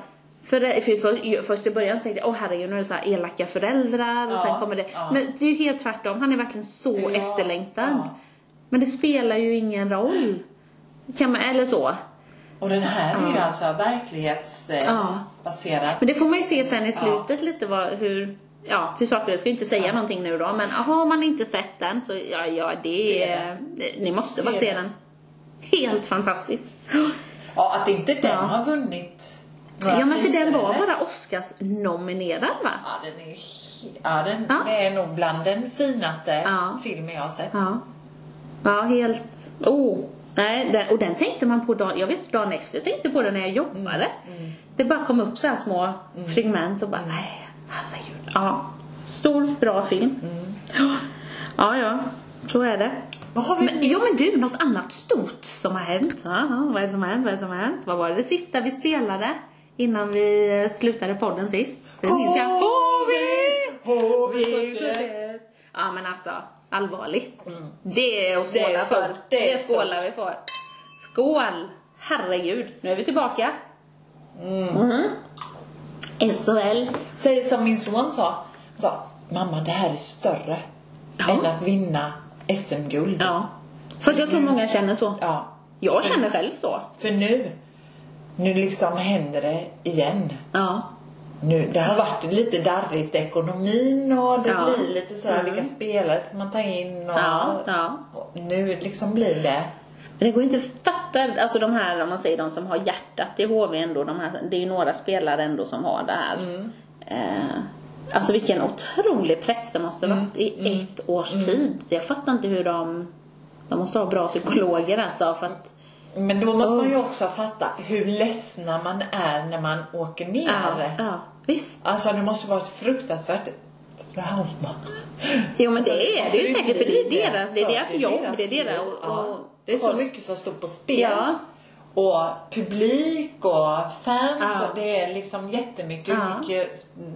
Speaker 1: För, det, för, för först i början tänkte jag, åh herregud, nu är det så här elaka föräldrar och
Speaker 2: Ja,
Speaker 1: sen kommer det.
Speaker 2: ja.
Speaker 1: Men det är ju helt tvärtom, han är verkligen så
Speaker 2: Ja,
Speaker 1: efterlängtad.
Speaker 2: ja.
Speaker 1: Men det spelar ju ingen roll. Kan man, eller så.
Speaker 2: Och den här är ju
Speaker 1: Ja.
Speaker 2: alltså
Speaker 1: Ja.
Speaker 2: verklighetsbaserad.
Speaker 1: Men det får man ju se sen i slutet lite vad, hur, ja, hur saker, jag ska ju inte säga någonting nu då, men har man inte sett den så ja, ja det
Speaker 2: Se
Speaker 1: är, ni måste
Speaker 2: Se
Speaker 1: bara se
Speaker 2: den.
Speaker 1: den. Helt fantastiskt.
Speaker 2: Ja, att inte den
Speaker 1: Ja.
Speaker 2: har vunnit några
Speaker 1: Ja men för
Speaker 2: priser,
Speaker 1: den var
Speaker 2: eller?
Speaker 1: bara Oscars-nominerad va?
Speaker 2: Ja, den är ju... he- Ja, den
Speaker 1: Ja.
Speaker 2: Det är nog bland den finaste
Speaker 1: Ja.
Speaker 2: filmen jag har sett.
Speaker 1: Ja. Ja, helt... Oh. Nej, den, och den tänkte man på dagen... Jag vet dagen efter tänkte på den när jag jobbade. Det bara kom upp så här små fragment och bara... Nej, herregud. Ja. Stor, bra film. Ja. Ja, ja. Så är det.
Speaker 2: Vad har vi
Speaker 1: Men, ja men du, något annat stort som har hänt. Ja, ja, vad är det som har hänt? Vad är det som har hänt? Vad var det sista vi spelade innan vi eh, slutade podden sist? Det minns jag.
Speaker 2: HV71!
Speaker 1: Ja men alltså, allvarligt. Det är att skåla
Speaker 2: Mm. Det är
Speaker 1: för.
Speaker 2: stort. Det är
Speaker 1: skålar vi för. Skål! Herregud, nu är vi tillbaka. Mm. SHL.
Speaker 2: Säg som min son sa. Han sa, mamma det här är större
Speaker 1: Ja.
Speaker 2: än att vinna SM-guld.
Speaker 1: Ja. Fast jag tror många känner så.
Speaker 2: Mm. Ja.
Speaker 1: Jag känner själv så.
Speaker 2: För nu, nu liksom händer det igen.
Speaker 1: Ja.
Speaker 2: Nu, det har varit lite darrigt ekonomin och det
Speaker 1: Ja.
Speaker 2: blir lite sådär
Speaker 1: Mm.
Speaker 2: vilka spelare ska man ta in och,
Speaker 1: Ja, ja.
Speaker 2: och nu liksom blir det
Speaker 1: Men det går inte att fatta, alltså de här, om man säger de som har hjärtat i HV ändå, de här, det är ju några spelare ändå som har det här. Eh, alltså vilken otrolig press det måste varit i ett års tid. Jag fattar inte hur de, de måste ha bra psykologer alltså för att,
Speaker 2: Men då måste man ju också fatta hur ledsna man är när man åker ner.
Speaker 1: ja, ja, visst.
Speaker 2: Alltså det måste vara ett fruktansvärt trauma.
Speaker 1: Jo men det är
Speaker 2: Alltså,
Speaker 1: det är ju säkert, för det är
Speaker 2: blir
Speaker 1: deras, det är
Speaker 2: Ja,
Speaker 1: deras jobb, det är deras,
Speaker 2: liv.
Speaker 1: och,
Speaker 2: Ja.
Speaker 1: och,
Speaker 2: det är så mycket som står på spel.
Speaker 1: Ja.
Speaker 2: Och publik och fans
Speaker 1: Ja.
Speaker 2: och det är liksom jättemycket.
Speaker 1: Ja.
Speaker 2: mycket mm.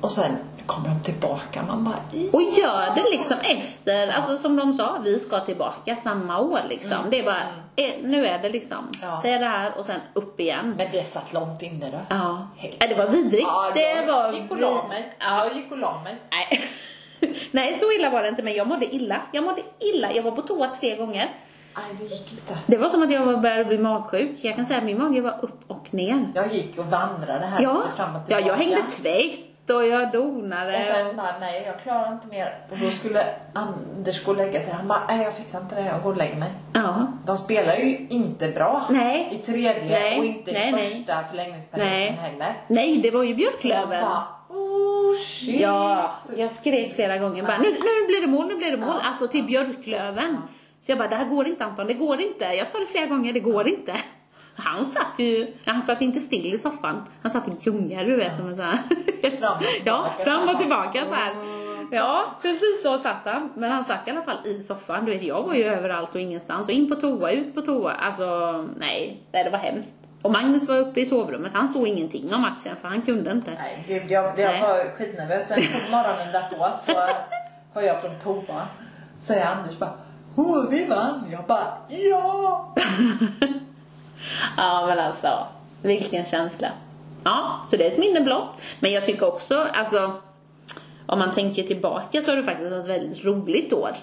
Speaker 2: Och sen kommer de tillbaka man bara
Speaker 1: Och gör det liksom efter, alltså som de sa, vi ska tillbaka samma år liksom. Det är bara, eh, nu är det liksom,
Speaker 2: Mm. Ja.
Speaker 1: det är det här och sen upp igen.
Speaker 2: Men det satt långt inne då.
Speaker 1: Ja.
Speaker 2: Helt-
Speaker 1: Nej, det var vidrigt.
Speaker 2: Ja,
Speaker 1: det
Speaker 2: jag
Speaker 1: var
Speaker 2: gick och
Speaker 1: vid-
Speaker 2: la mig.
Speaker 1: Ja.
Speaker 2: Jag gick och la mig.
Speaker 1: Nej. Nej, så illa var det inte men jag mådde illa. Jag mådde illa. Jag var på toa tre gånger.
Speaker 2: Nej, det gick inte.
Speaker 1: Det var som att jag var- började bli magsjuk. Jag kan säga att min mage var upp och ner.
Speaker 2: Jag gick och vandrade här
Speaker 1: Ja,
Speaker 2: lite fram och
Speaker 1: ja
Speaker 2: tillbaka.
Speaker 1: jag hängde tvätt och jag donade.
Speaker 2: Och sen bara, nej jag klarar inte mer. Och då skulle Anders gå och lägga sig. Han bara, nej jag fixar inte det, jag går och lägger mig.
Speaker 1: Ja.
Speaker 2: De spelar ju inte bra
Speaker 1: Nej.
Speaker 2: i tredje
Speaker 1: Nej,
Speaker 2: och inte
Speaker 1: nej,
Speaker 2: i
Speaker 1: nej.
Speaker 2: första förlängningsperioden
Speaker 1: Nej.
Speaker 2: heller.
Speaker 1: Nej, det var ju
Speaker 2: Jag
Speaker 1: björklöven.
Speaker 2: bara, oh shit.
Speaker 1: Ja, jag skrek flera gånger bara, nu, nu blir det mål, nu blir det mål. Alltså till Björklöven. Så jag bara, det här går inte Anton, det går inte. Jag sa det flera gånger, det går inte. Han satt ju, han satt inte still i soffan. Han satt och gungade du vet som en sån här.
Speaker 2: Fram och tillbaka. Mm.
Speaker 1: Ja, fram och tillbaka så här. Ja, precis så satt han. Men han satt i alla fall i soffan. Du vet, jag var ju överallt och ingenstans. Och in på toa, ut på toa. Alltså, nej, nej, det var hemskt. Och Magnus var uppe i sovrummet. Han såg ingenting av matchen för han kunde inte.
Speaker 2: Nej gud, jag, jag
Speaker 1: Nej.
Speaker 2: var skitnervös. Sen på morgonen där då så hör jag från toan. Säger Anders bara, oh, vi vann. Jag bara, ja.
Speaker 1: Ja, men alltså, vilken känsla. Ja, så det är ett minne blott. Men jag tycker också, alltså, om man tänker tillbaka så har det faktiskt varit ett väldigt roligt år.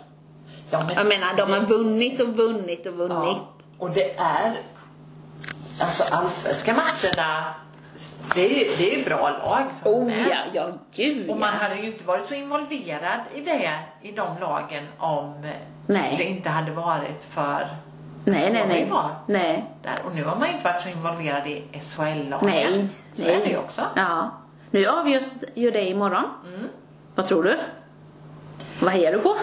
Speaker 2: Ja, men
Speaker 1: Jag menar, de har
Speaker 2: det-
Speaker 1: vunnit och vunnit och vunnit.
Speaker 2: Ja. Och det är... Alltså allsvenska matcherna, det är ju det är ju bra lag som är
Speaker 1: Oh
Speaker 2: med.
Speaker 1: ja, ja gud
Speaker 2: Och man
Speaker 1: ja.
Speaker 2: hade ju inte varit så involverad i det, i de lagen, om
Speaker 1: Nej.
Speaker 2: det inte hade varit för
Speaker 1: Nej, nej,
Speaker 2: Ja,
Speaker 1: nej.
Speaker 2: det var.
Speaker 1: Nej,
Speaker 2: där. Och nu har man ju inte varit så involverad i SHL-lagen.
Speaker 1: nej.
Speaker 2: Så
Speaker 1: nej.
Speaker 2: är det ju också.
Speaker 1: Ja. Mm. Nu avgörs ju det imorgon. Vad tror du? Vad hejar du på?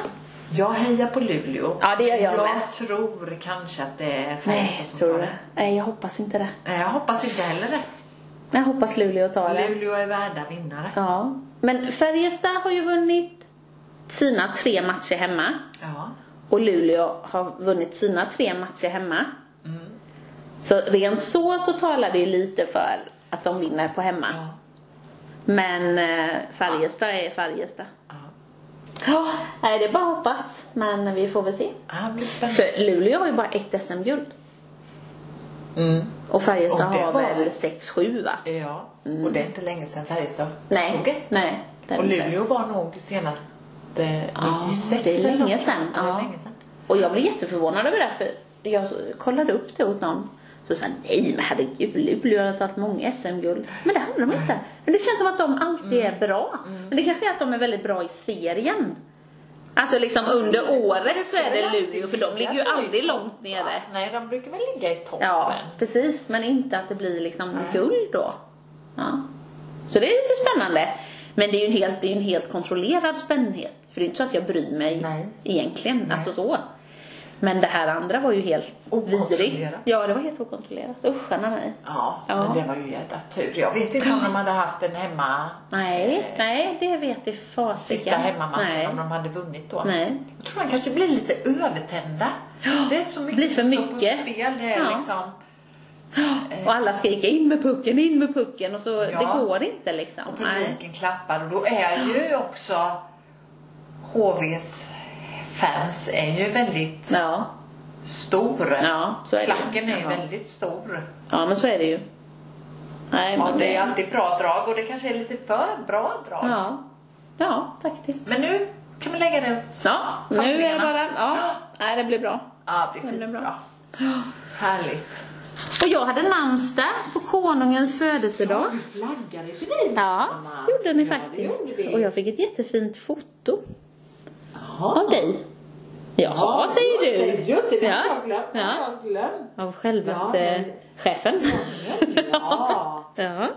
Speaker 2: Jag hejar på Luleå.
Speaker 1: Ja, det gör jag med.
Speaker 2: Jag tror kanske att det är
Speaker 1: Nej,
Speaker 2: Färjestad som
Speaker 1: tror
Speaker 2: tar
Speaker 1: du
Speaker 2: det.
Speaker 1: det? Nej, jag hoppas inte det.
Speaker 2: Nej, jag hoppas inte heller det.
Speaker 1: Men jag hoppas Luleå tar det.
Speaker 2: Luleå är värda vinnare.
Speaker 1: Ja. Men Färjestad har ju vunnit sina tre matcher hemma.
Speaker 2: Ja.
Speaker 1: Och Luleå har vunnit sina tre matcher hemma. Så rent så så talar det ju lite för att de vinner på hemma.
Speaker 2: Ja.
Speaker 1: Men eh, Färjestad är Färjestad.
Speaker 2: Ja.
Speaker 1: Ja, nej, det är bara att hoppas. Men vi får väl se.
Speaker 2: Ja, det blir spännande.
Speaker 1: För Luleå har ju bara ett SM-guld.
Speaker 2: Mm.
Speaker 1: Och Färjestad
Speaker 2: Och det
Speaker 1: har
Speaker 2: var-
Speaker 1: väl 6-7 va?
Speaker 2: Ja. Och det är inte länge sedan Färjestad
Speaker 1: Mm. Nej,
Speaker 2: tog det.
Speaker 1: nej. det är
Speaker 2: Och
Speaker 1: det inte.
Speaker 2: Luleå var nog senast
Speaker 1: Ja,
Speaker 2: eh, 96
Speaker 1: det är
Speaker 2: eller
Speaker 1: länge
Speaker 2: något.
Speaker 1: sedan,
Speaker 2: Ja, det
Speaker 1: ja.
Speaker 2: är länge sedan.
Speaker 1: Och jag blev jätteförvånad över det här, för jag kollade upp det åt någon. Så sa han, nej men herregud, Luleå har tagit många SM-guld. Men det hade de inte. Men det känns som att de alltid är bra. Men det kanske är att de är väldigt bra i serien. Alltså liksom under året så är det Luleå, för de ligger ju aldrig långt nere.
Speaker 2: Nej, de brukar väl ligga i toppen.
Speaker 1: Ja, precis. Men inte att det blir liksom guld då. Ja. Så det är lite spännande. Men det är ju en helt, det är ju en helt kontrollerad spännhet. För det är inte så att jag bryr mig
Speaker 2: Nej.
Speaker 1: egentligen. Alltså så. Men det här andra var ju helt
Speaker 2: Okontrollerat.
Speaker 1: vidrigt. Ja, det var helt okontrollerat. Uscharna mig.
Speaker 2: Ja,
Speaker 1: Ja.
Speaker 2: men det var ju jävla tur. Jag vet inte om de hade haft en hemma,
Speaker 1: Nej, nej, det vet i fasiken.
Speaker 2: sista hemmamatchen
Speaker 1: Nej.
Speaker 2: om de hade vunnit då.
Speaker 1: Nej.
Speaker 2: Jag tror man kanske blir lite övertända. Det är så mycket
Speaker 1: blir för
Speaker 2: som står
Speaker 1: mycket.
Speaker 2: på spel. Det är
Speaker 1: Ja.
Speaker 2: liksom,
Speaker 1: Och alla skriker in med pucken, in med pucken och så
Speaker 2: Eh. Ja.
Speaker 1: det går inte liksom.
Speaker 2: och
Speaker 1: Nej.
Speaker 2: publiken klappar och då är ju också HVs fans är ju väldigt
Speaker 1: Ja,
Speaker 2: stor.
Speaker 1: ja, så är det
Speaker 2: Klacken är ju
Speaker 1: Ja.
Speaker 2: väldigt stor.
Speaker 1: Ja, men så är det ju. Nej,
Speaker 2: Ja,
Speaker 1: men
Speaker 2: det är alltid bra drag och det kanske är lite för bra drag.
Speaker 1: Ja, ja faktiskt.
Speaker 2: Men nu kan vi lägga det åt
Speaker 1: Ja, nu är det
Speaker 2: Pappringarna.
Speaker 1: bara... Ja, nej, det blir bra.
Speaker 2: Ja, det blir
Speaker 1: Det blir
Speaker 2: skitbra.
Speaker 1: bra.
Speaker 2: Härligt.
Speaker 1: Och jag hade namnsdag på konungens födelsedag.
Speaker 2: Vi flaggade för dig.
Speaker 1: Ja,
Speaker 2: mamma.
Speaker 1: gjorde ni
Speaker 2: Ja, det
Speaker 1: faktiskt.
Speaker 2: gjorde vi.
Speaker 1: Och jag fick ett jättefint foto
Speaker 2: Jaha.
Speaker 1: av dig. Jaha, säger du.
Speaker 2: Just det, det
Speaker 1: Ja.
Speaker 2: har jag glömt. Det har jag glömt.
Speaker 1: Av självaste
Speaker 2: Ja.
Speaker 1: chefen.
Speaker 2: Ja.
Speaker 1: Ja,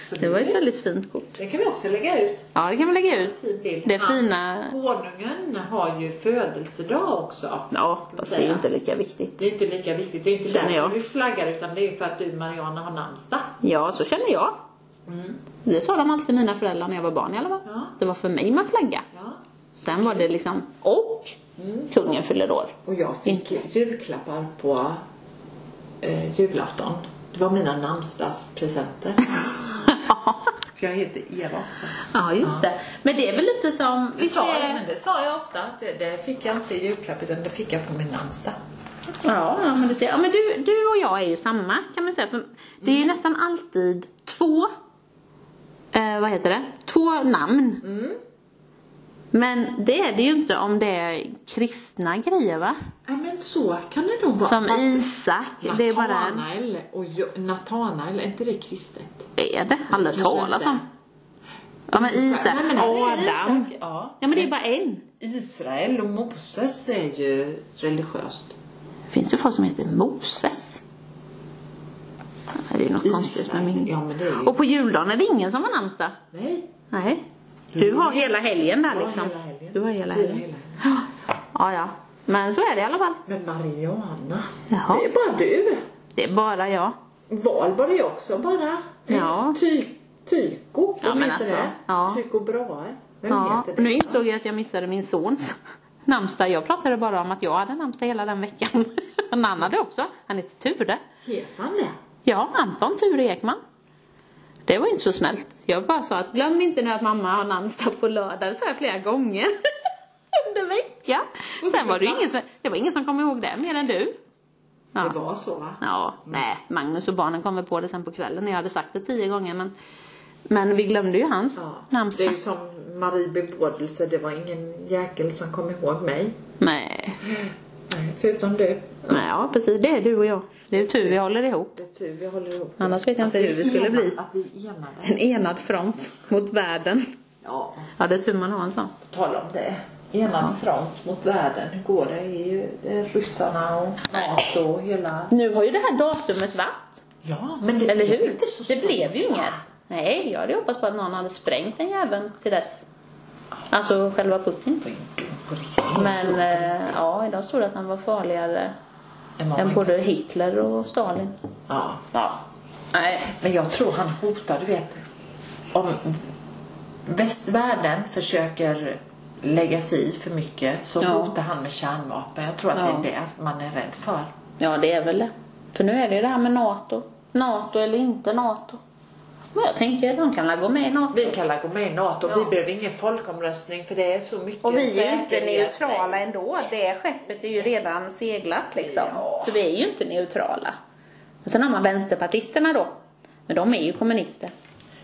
Speaker 2: absolut.
Speaker 1: det var ett väldigt fint kort.
Speaker 2: Det kan vi också lägga ut.
Speaker 1: Ja, det kan vi lägga ut.
Speaker 2: Fin bild.
Speaker 1: Det
Speaker 2: Han-
Speaker 1: fina...
Speaker 2: Konungen har ju födelsedag också.
Speaker 1: Ja, fast det är ju inte lika viktigt.
Speaker 2: Det är inte lika viktigt. Det är inte
Speaker 1: Känner
Speaker 2: därför
Speaker 1: jag.
Speaker 2: du flaggar utan det är ju för att du Mariana har namnsdag.
Speaker 1: Ja, så känner jag. Det sa de alltid mina föräldrar när jag var barn i alla fall.
Speaker 2: Ja.
Speaker 1: Det var för mig man flagga.
Speaker 2: Ja.
Speaker 1: Sen var det liksom, och kungen fyller år.
Speaker 2: Och jag fick julklappar på eh, julafton. Det var mina namnsdagspresenter. För jag heter Eva också.
Speaker 1: Ja, just det. Men det är väl lite som...
Speaker 2: Det sa jag, men det sa jag ofta. Att det, det fick jag inte i julklapp utan det fick jag på min namnsdag.
Speaker 1: Ja, ja, men, du, ser, ja, men du, du och jag är ju samma kan man säga. För Det är ju nästan alltid två, eh, vad heter det, två namn. Men det är det ju inte om det är kristna grejer va?
Speaker 2: Nej men så kan det nog vara.
Speaker 1: Som
Speaker 2: Fast
Speaker 1: Isak, det är bara en...
Speaker 2: Natanael och jo, Natanael, är inte det kristet?
Speaker 1: Är det? Aldrig
Speaker 2: Kanske
Speaker 1: talas
Speaker 2: inte.
Speaker 1: om. Ja men Isak,
Speaker 2: Nej, men han är
Speaker 1: Adam.
Speaker 2: Isak, Ja.
Speaker 1: Ja men det är bara en.
Speaker 2: Israel och Moses är ju religiöst.
Speaker 1: Finns det folk som heter Moses? Det är ju något konstigt med min...
Speaker 2: Ja men det är ju...
Speaker 1: Och på juldagen är det ingen som har namnsdag?
Speaker 2: Nej.
Speaker 1: Nej. Du har hela helgen där
Speaker 2: Jag har
Speaker 1: liksom.
Speaker 2: hela helgen.
Speaker 1: Du har hela
Speaker 2: Fira
Speaker 1: helgen.
Speaker 2: helgen.
Speaker 1: Ja, ja. Men så är det i alla fall.
Speaker 2: Men Mariana.
Speaker 1: Jaha.
Speaker 2: Det är bara du.
Speaker 1: Det är bara jag.
Speaker 2: Valborg är också bara.
Speaker 1: Ja.
Speaker 2: Ty, tyko,
Speaker 1: Ja,
Speaker 2: vad
Speaker 1: men
Speaker 2: heter
Speaker 1: alltså,
Speaker 2: det?
Speaker 1: ja.
Speaker 2: Tyko Brahe. Vem
Speaker 1: Ja.
Speaker 2: heter
Speaker 1: Nu
Speaker 2: det?
Speaker 1: insåg jag att jag missade min sons namnsdag. Jag pratade bara om att jag hade namnsdag hela den veckan. Men han hade också. Han heter Ture.
Speaker 2: Heter han det?
Speaker 1: Ja, Anton Ture Ekman. Det var inte så snällt. Jag bara sa att glöm inte nu att mamma har namnsdag på lördag. Det sa jag flera gånger under veckan. Sen var det ju ingen som, det var ingen som kom ihåg det mer än du. Ja.
Speaker 2: Det var så va?
Speaker 1: Ja, nej, Magnus och barnen kom väl på det sen på kvällen när jag hade sagt det tio gånger men, men vi glömde ju hans
Speaker 2: Ja. Det
Speaker 1: namnsdag.
Speaker 2: är ju som Marie bebådelse, det var ingen jäkel som kom ihåg mig.
Speaker 1: Nej,
Speaker 2: Nej, förutom du.
Speaker 1: nej, ja precis, det är du och jag. Det är ju tur vi håller ihop.
Speaker 2: Det är tur vi håller ihop.
Speaker 1: Annars vet jag inte hur vi skulle
Speaker 2: Ena-
Speaker 1: bli.
Speaker 2: Att vi är enade.
Speaker 1: En enad front mot världen.
Speaker 2: Ja,
Speaker 1: Ja, det är tur man har en sån.
Speaker 2: på tal om det. Enad front mot världen. Hur går det i eh, ryssarna och NATO och hela...
Speaker 1: Nu har ju det här datumet varit,
Speaker 2: Ja, men det
Speaker 1: eller
Speaker 2: blev
Speaker 1: hur?
Speaker 2: inte så
Speaker 1: Det blev ju
Speaker 2: stort.
Speaker 1: inget. Nej, jag hade hoppats på att någon hade sprängt den jäveln till dess. Alltså själva pucken.
Speaker 2: Vad är du på riktigt?
Speaker 1: Men eh, ja, idag stod det att han var farligare
Speaker 2: Än vad
Speaker 1: än
Speaker 2: man
Speaker 1: både Hitler och Stalin.
Speaker 2: Ja.
Speaker 1: Ja. Nej.
Speaker 2: Men jag tror han hotar, du vet. Om västvärlden försöker lägga sig i för mycket så
Speaker 1: Ja.
Speaker 2: hotar han med kärnvapen. Jag tror att
Speaker 1: Ja.
Speaker 2: det är det man är rädd för.
Speaker 1: Ja, det är väl det. För nu är det ju det här med NATO. NATO eller inte NATO. Men jag tänker att de kan väl gå med i NATO.
Speaker 2: Vi kan väl gå med i NATO.
Speaker 1: Ja.
Speaker 2: Vi behöver ingen folkomröstning för det är så mycket
Speaker 1: Och vi är ju inte
Speaker 2: säkerhet.
Speaker 1: neutrala ändå. Det skeppet är ju redan seglat liksom.
Speaker 2: Ja.
Speaker 1: Så vi är ju inte neutrala. Och sen har man vänsterpartisterna då. Men de är ju kommunister.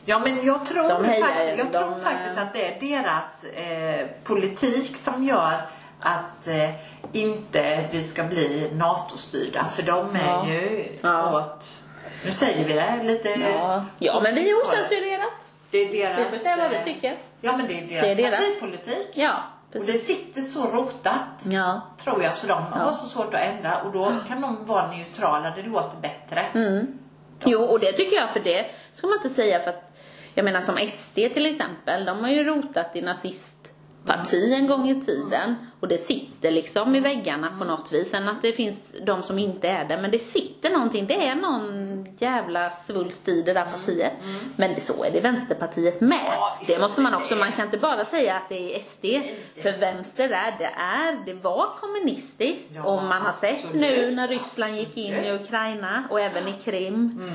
Speaker 2: Ja, men jag tror,
Speaker 1: De hejar
Speaker 2: fak-
Speaker 1: ju,
Speaker 2: jag
Speaker 1: de, eh,
Speaker 2: tror faktiskt att det är deras eh, politik som gör att eh, inte vi ska bli NATO-styrda. För de är
Speaker 1: Ja.
Speaker 2: ju
Speaker 1: Ja.
Speaker 2: åt, nu säger vi det lite.
Speaker 1: Ja, ja men vi är osensurerat.
Speaker 2: Det är deras,
Speaker 1: Vi får säga vad vi
Speaker 2: eh,
Speaker 1: tycker.
Speaker 2: Ja, men det är deras,
Speaker 1: Det är deras.
Speaker 2: partipolitik.
Speaker 1: Ja,
Speaker 2: Och
Speaker 1: precis.
Speaker 2: det sitter så rotat,
Speaker 1: Ja.
Speaker 2: tror jag, så de
Speaker 1: Ja.
Speaker 2: har så svårt att ändra. Och då kan de vara neutrala, det låter bättre.
Speaker 1: Mm. Jo, och det tycker jag, för det ska man inte säga för att, jag menar som SD till exempel, de har ju rotat i nazistparti
Speaker 2: Mm.
Speaker 1: en gång i tiden och det sitter liksom i väggarna
Speaker 2: Mm.
Speaker 1: på något vis. Sen att det finns de som inte är det, men det sitter någonting, det är någon jävla svulst i det där partiet. Men så är det Vänsterpartiet med.
Speaker 2: Mm. Ja, visst
Speaker 1: det måste man
Speaker 2: är
Speaker 1: också,
Speaker 2: det.
Speaker 1: man kan inte bara säga att det är SD, för vänster där, det är, det var kommunistiskt
Speaker 2: Ja,
Speaker 1: om man har sett
Speaker 2: absolut.
Speaker 1: nu när Ryssland gick in i
Speaker 2: Absolut. Mm.
Speaker 1: Ukraina och även i Krim.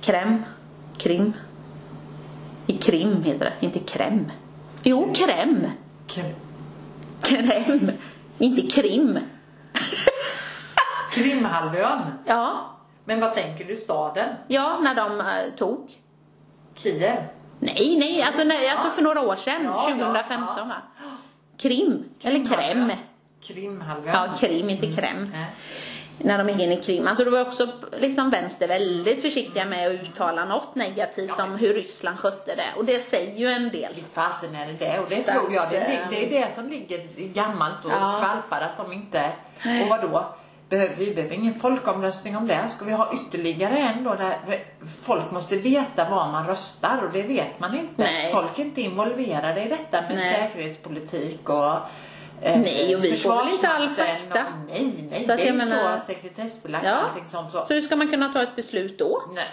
Speaker 1: Krem. Krim. I Krim heter det, inte Krem. Jo, Krem.
Speaker 2: Kr-
Speaker 1: Krem. Inte Krim.
Speaker 2: Krimhalvön.
Speaker 1: Ja,
Speaker 2: Men vad tänker du staden?
Speaker 1: ja när de eh, tog.
Speaker 2: Kiev?
Speaker 1: Nej, nej, alltså, nej, alltså för några år sedan,
Speaker 2: Ja, ja,
Speaker 1: 2015
Speaker 2: ja.
Speaker 1: va? Krim, eller Krem.
Speaker 2: Krimhalvön.
Speaker 1: Ja, Krim, inte
Speaker 2: Mm.
Speaker 1: Krem.
Speaker 2: Nej.
Speaker 1: när de gick in i Krim. Alltså det var också liksom vänster väldigt försiktiga med att uttala något negativt om hur Ryssland skötte det. Och det säger ju en del.
Speaker 2: Visst fasen är det det och det
Speaker 1: Så
Speaker 2: tror jag. Det,
Speaker 1: att, eh,
Speaker 2: lig- det är det som ligger i gammalt och skvalpar att de inte... Och vadå? Behöver, vi behöver ingen folkomröstning om det. Ska vi ha ytterligare en då där folk måste veta var man röstar och det vet man inte.
Speaker 1: Nej.
Speaker 2: Folk är inte involverade i detta med
Speaker 1: Nej.
Speaker 2: säkerhetspolitik och eh,
Speaker 1: Nej, och vi får väl inte all
Speaker 2: försvarsmakten
Speaker 1: fakta.
Speaker 2: och- nej, nej.
Speaker 1: Så att
Speaker 2: det är
Speaker 1: jag
Speaker 2: ju
Speaker 1: menar-
Speaker 2: så sekretessbelagt
Speaker 1: Ja.
Speaker 2: allting sånt. Så.
Speaker 1: Så hur ska man kunna ta ett beslut då?
Speaker 2: Nej.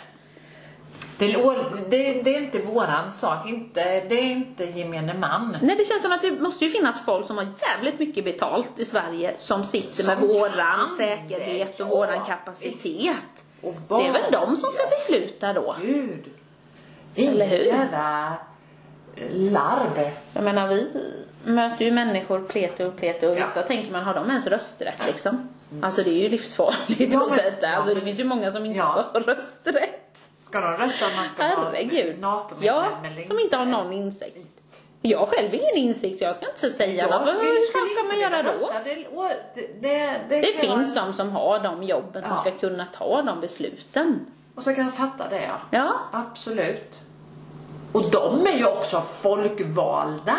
Speaker 2: Det, är å- det, det är inte våran sak, inte, det är inte gemene man.
Speaker 1: Nej, det känns som att det måste ju finnas folk som har jävligt mycket betalt i Sverige som sitter
Speaker 2: Som
Speaker 1: med våran
Speaker 2: kan
Speaker 1: säkerhet
Speaker 2: det,
Speaker 1: och
Speaker 2: ja,
Speaker 1: våran kapacitet.
Speaker 2: Och
Speaker 1: Det är väl de som ska besluta då?
Speaker 2: Gud. Ingen
Speaker 1: Eller hur?
Speaker 2: jävla larv.
Speaker 1: Jag menar, vi möter ju människor plete och plete och vissa tänker man, har de ens rösträtt liksom? Alltså det är ju livsfarligt
Speaker 2: Mm. Ja,
Speaker 1: att
Speaker 2: men-
Speaker 1: sätta. Alltså det
Speaker 2: ja, men-
Speaker 1: finns ju många som inte
Speaker 2: Ja.
Speaker 1: ska ha rösträtt.
Speaker 2: Ska de rösta om man ska
Speaker 1: Herregud.
Speaker 2: vara nato
Speaker 1: ja, som inte har någon insikt. Jag har själv ingen insikt, så jag ska inte säga något. Vad fan ska man göra då?
Speaker 2: Det, å- det, det,
Speaker 1: Det
Speaker 2: det kan jag-
Speaker 1: finns de som har de jobben som
Speaker 2: Ja.
Speaker 1: ska kunna ta de besluten.
Speaker 2: Och så kan jag fatta det ja.
Speaker 1: Ja,
Speaker 2: Absolut. Och de är ju också folkvalda.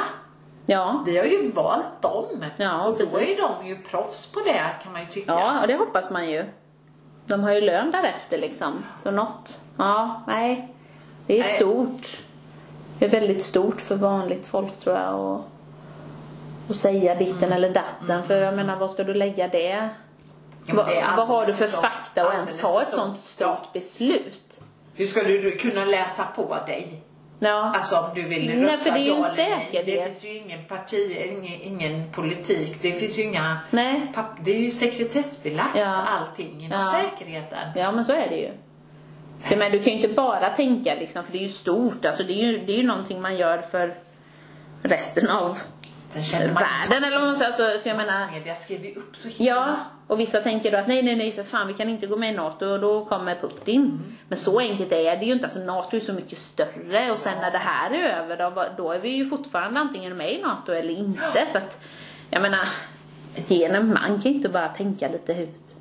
Speaker 1: ja,
Speaker 2: Vi har ju valt dem.
Speaker 1: Ja,
Speaker 2: och då
Speaker 1: precis.
Speaker 2: är de ju proffs på det kan man ju tycka.
Speaker 1: ja, och det hoppas man ju. De har ju lön därefter liksom, så något. Ja, nej. Det är
Speaker 2: Nej.
Speaker 1: stort. Det är väldigt stort för vanligt folk tror jag och, och säga ditten
Speaker 2: Mm.
Speaker 1: eller datten. För jag menar, vad ska du lägga det?
Speaker 2: Ja, men
Speaker 1: vad,
Speaker 2: det är
Speaker 1: vad har du för
Speaker 2: alldeles för stort.
Speaker 1: fakta att ens
Speaker 2: Alldeles
Speaker 1: ta
Speaker 2: för
Speaker 1: ett sånt
Speaker 2: stort.
Speaker 1: stort beslut?
Speaker 2: Hur ska du kunna läsa på dig?
Speaker 1: Ja.
Speaker 2: Alltså om du vill
Speaker 1: Nej,
Speaker 2: rösta
Speaker 1: för det är ju
Speaker 2: ja
Speaker 1: en
Speaker 2: eller nej.
Speaker 1: säkerhet.
Speaker 2: Det finns ju ingen parti, ingen, ingen politik. Det finns ju inga...
Speaker 1: Nej.
Speaker 2: Papp, det är ju sekretessbelagt
Speaker 1: Ja.
Speaker 2: allting inom
Speaker 1: Ja.
Speaker 2: säkerheten.
Speaker 1: Ja, men så är det ju. För, men du kan ju inte bara tänka liksom, för det är ju stort. Alltså, det, är ju, det är ju någonting man gör för resten av
Speaker 2: Den känner man
Speaker 1: världen. Eller vad man säger. Alltså, Så, så jag menar,
Speaker 2: Massmedia skriver ju upp så himla...
Speaker 1: ja. Och vissa tänker då att nej, nej, nej, för fan, vi kan inte gå med i NATO och då kommer Putin.
Speaker 2: Mm.
Speaker 1: Men så enkelt är det ju inte. Alltså, NATO är så mycket större och sen när det här är över då, vad- då är vi ju fortfarande antingen med i NATO eller inte. Så att, jag menar, genom man kan ju inte bara tänka lite ut.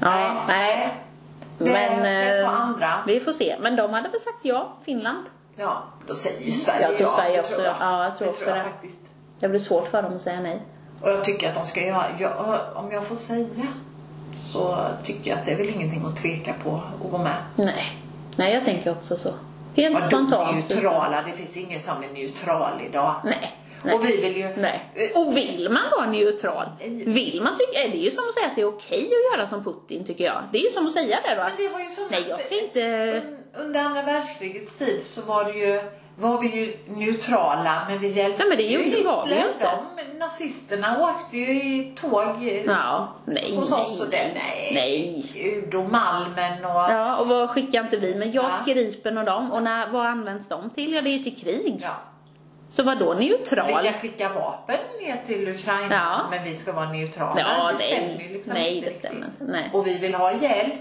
Speaker 1: Ja,
Speaker 2: Nej.
Speaker 1: nej.
Speaker 2: Det är-
Speaker 1: Men
Speaker 2: det är på
Speaker 1: eh,
Speaker 2: andra.
Speaker 1: vi får se. Men de hade väl sagt ja, Finland.
Speaker 2: Ja, då säger ju Sverige
Speaker 1: Mm. Jag tror Sverige
Speaker 2: det
Speaker 1: också-
Speaker 2: tror jag.
Speaker 1: ja, jag tror
Speaker 2: det
Speaker 1: också
Speaker 2: tror jag
Speaker 1: det.
Speaker 2: faktiskt.
Speaker 1: Det blir svårt för dem att säga nej.
Speaker 2: Och jag tycker att de ska göra... Jag, om jag får säga så tycker jag att det är väl ingenting att tveka på att gå med.
Speaker 1: Nej, nej jag tänker också så. Helt
Speaker 2: Vad de
Speaker 1: spontant.
Speaker 2: neutrala, det finns ingen som är neutral idag.
Speaker 1: Nej. nej.
Speaker 2: Och vi vill ju... Eh,
Speaker 1: Nej. Och vill man vara neutral? Vill man tycka, är det är ju som att säga att det är okej att göra som Putin tycker jag. Det är ju som att säga det då.
Speaker 2: Men det var ju som
Speaker 1: Nej, jag ska inte...
Speaker 2: Un- Under andra världskrigets tid så var det ju var vi ju neutrala men vi hjälpte
Speaker 1: Nej, men det gjorde vi
Speaker 2: Hitler,
Speaker 1: ju inte.
Speaker 2: De, nazisterna åkte ju i tåg eh,
Speaker 1: Ja, nej,
Speaker 2: hos
Speaker 1: nej,
Speaker 2: oss och det. Nej.
Speaker 1: nej.
Speaker 2: Ud och Malmen och...
Speaker 1: Ja, och vad skickar inte vi? Men jag
Speaker 2: Ja.
Speaker 1: skripen och dem. Och när, vad används de till? Ja, det är ju till krig.
Speaker 2: Ja.
Speaker 1: Så vad då neutral?
Speaker 2: Vilja skicka vapen ner till Ukraina
Speaker 1: Ja.
Speaker 2: men vi ska vara neutrala.
Speaker 1: Ja,
Speaker 2: det stämmer
Speaker 1: nej,
Speaker 2: ju liksom
Speaker 1: nej, det
Speaker 2: inte riktigt.
Speaker 1: stämmer inte. Nej.
Speaker 2: Och vi vill ha hjälp.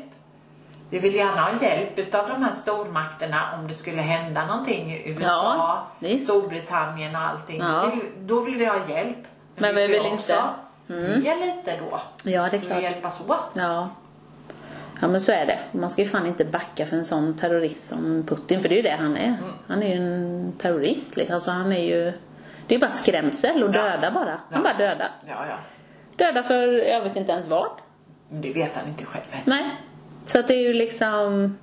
Speaker 2: Vi vill gärna ha hjälp utav de här stormakterna om det skulle hända någonting i USA,
Speaker 1: Ja, visst.
Speaker 2: Storbritannien och allting.
Speaker 1: Ja.
Speaker 2: Vill, då vill vi ha hjälp.
Speaker 1: Men vi vill Mm.
Speaker 2: också ge lite då.
Speaker 1: Ja, det är
Speaker 2: Vi vill
Speaker 1: klart.
Speaker 2: hjälpas åt.
Speaker 1: Ja. Ja men så är det. Man ska ju fan inte backa för en sån terrorist som Putin, för det är ju det han är.
Speaker 2: Mm.
Speaker 1: Han är ju en terrorist liksom. Alltså han är ju... Det är ju bara skrämsel och
Speaker 2: Ja.
Speaker 1: döda bara. Han
Speaker 2: Ja.
Speaker 1: bara dödar.
Speaker 2: Ja, ja.
Speaker 1: Döda för, jag vet inte ens vad.
Speaker 2: Men det vet han inte själv.
Speaker 1: Nej. Så att det är ju liksom...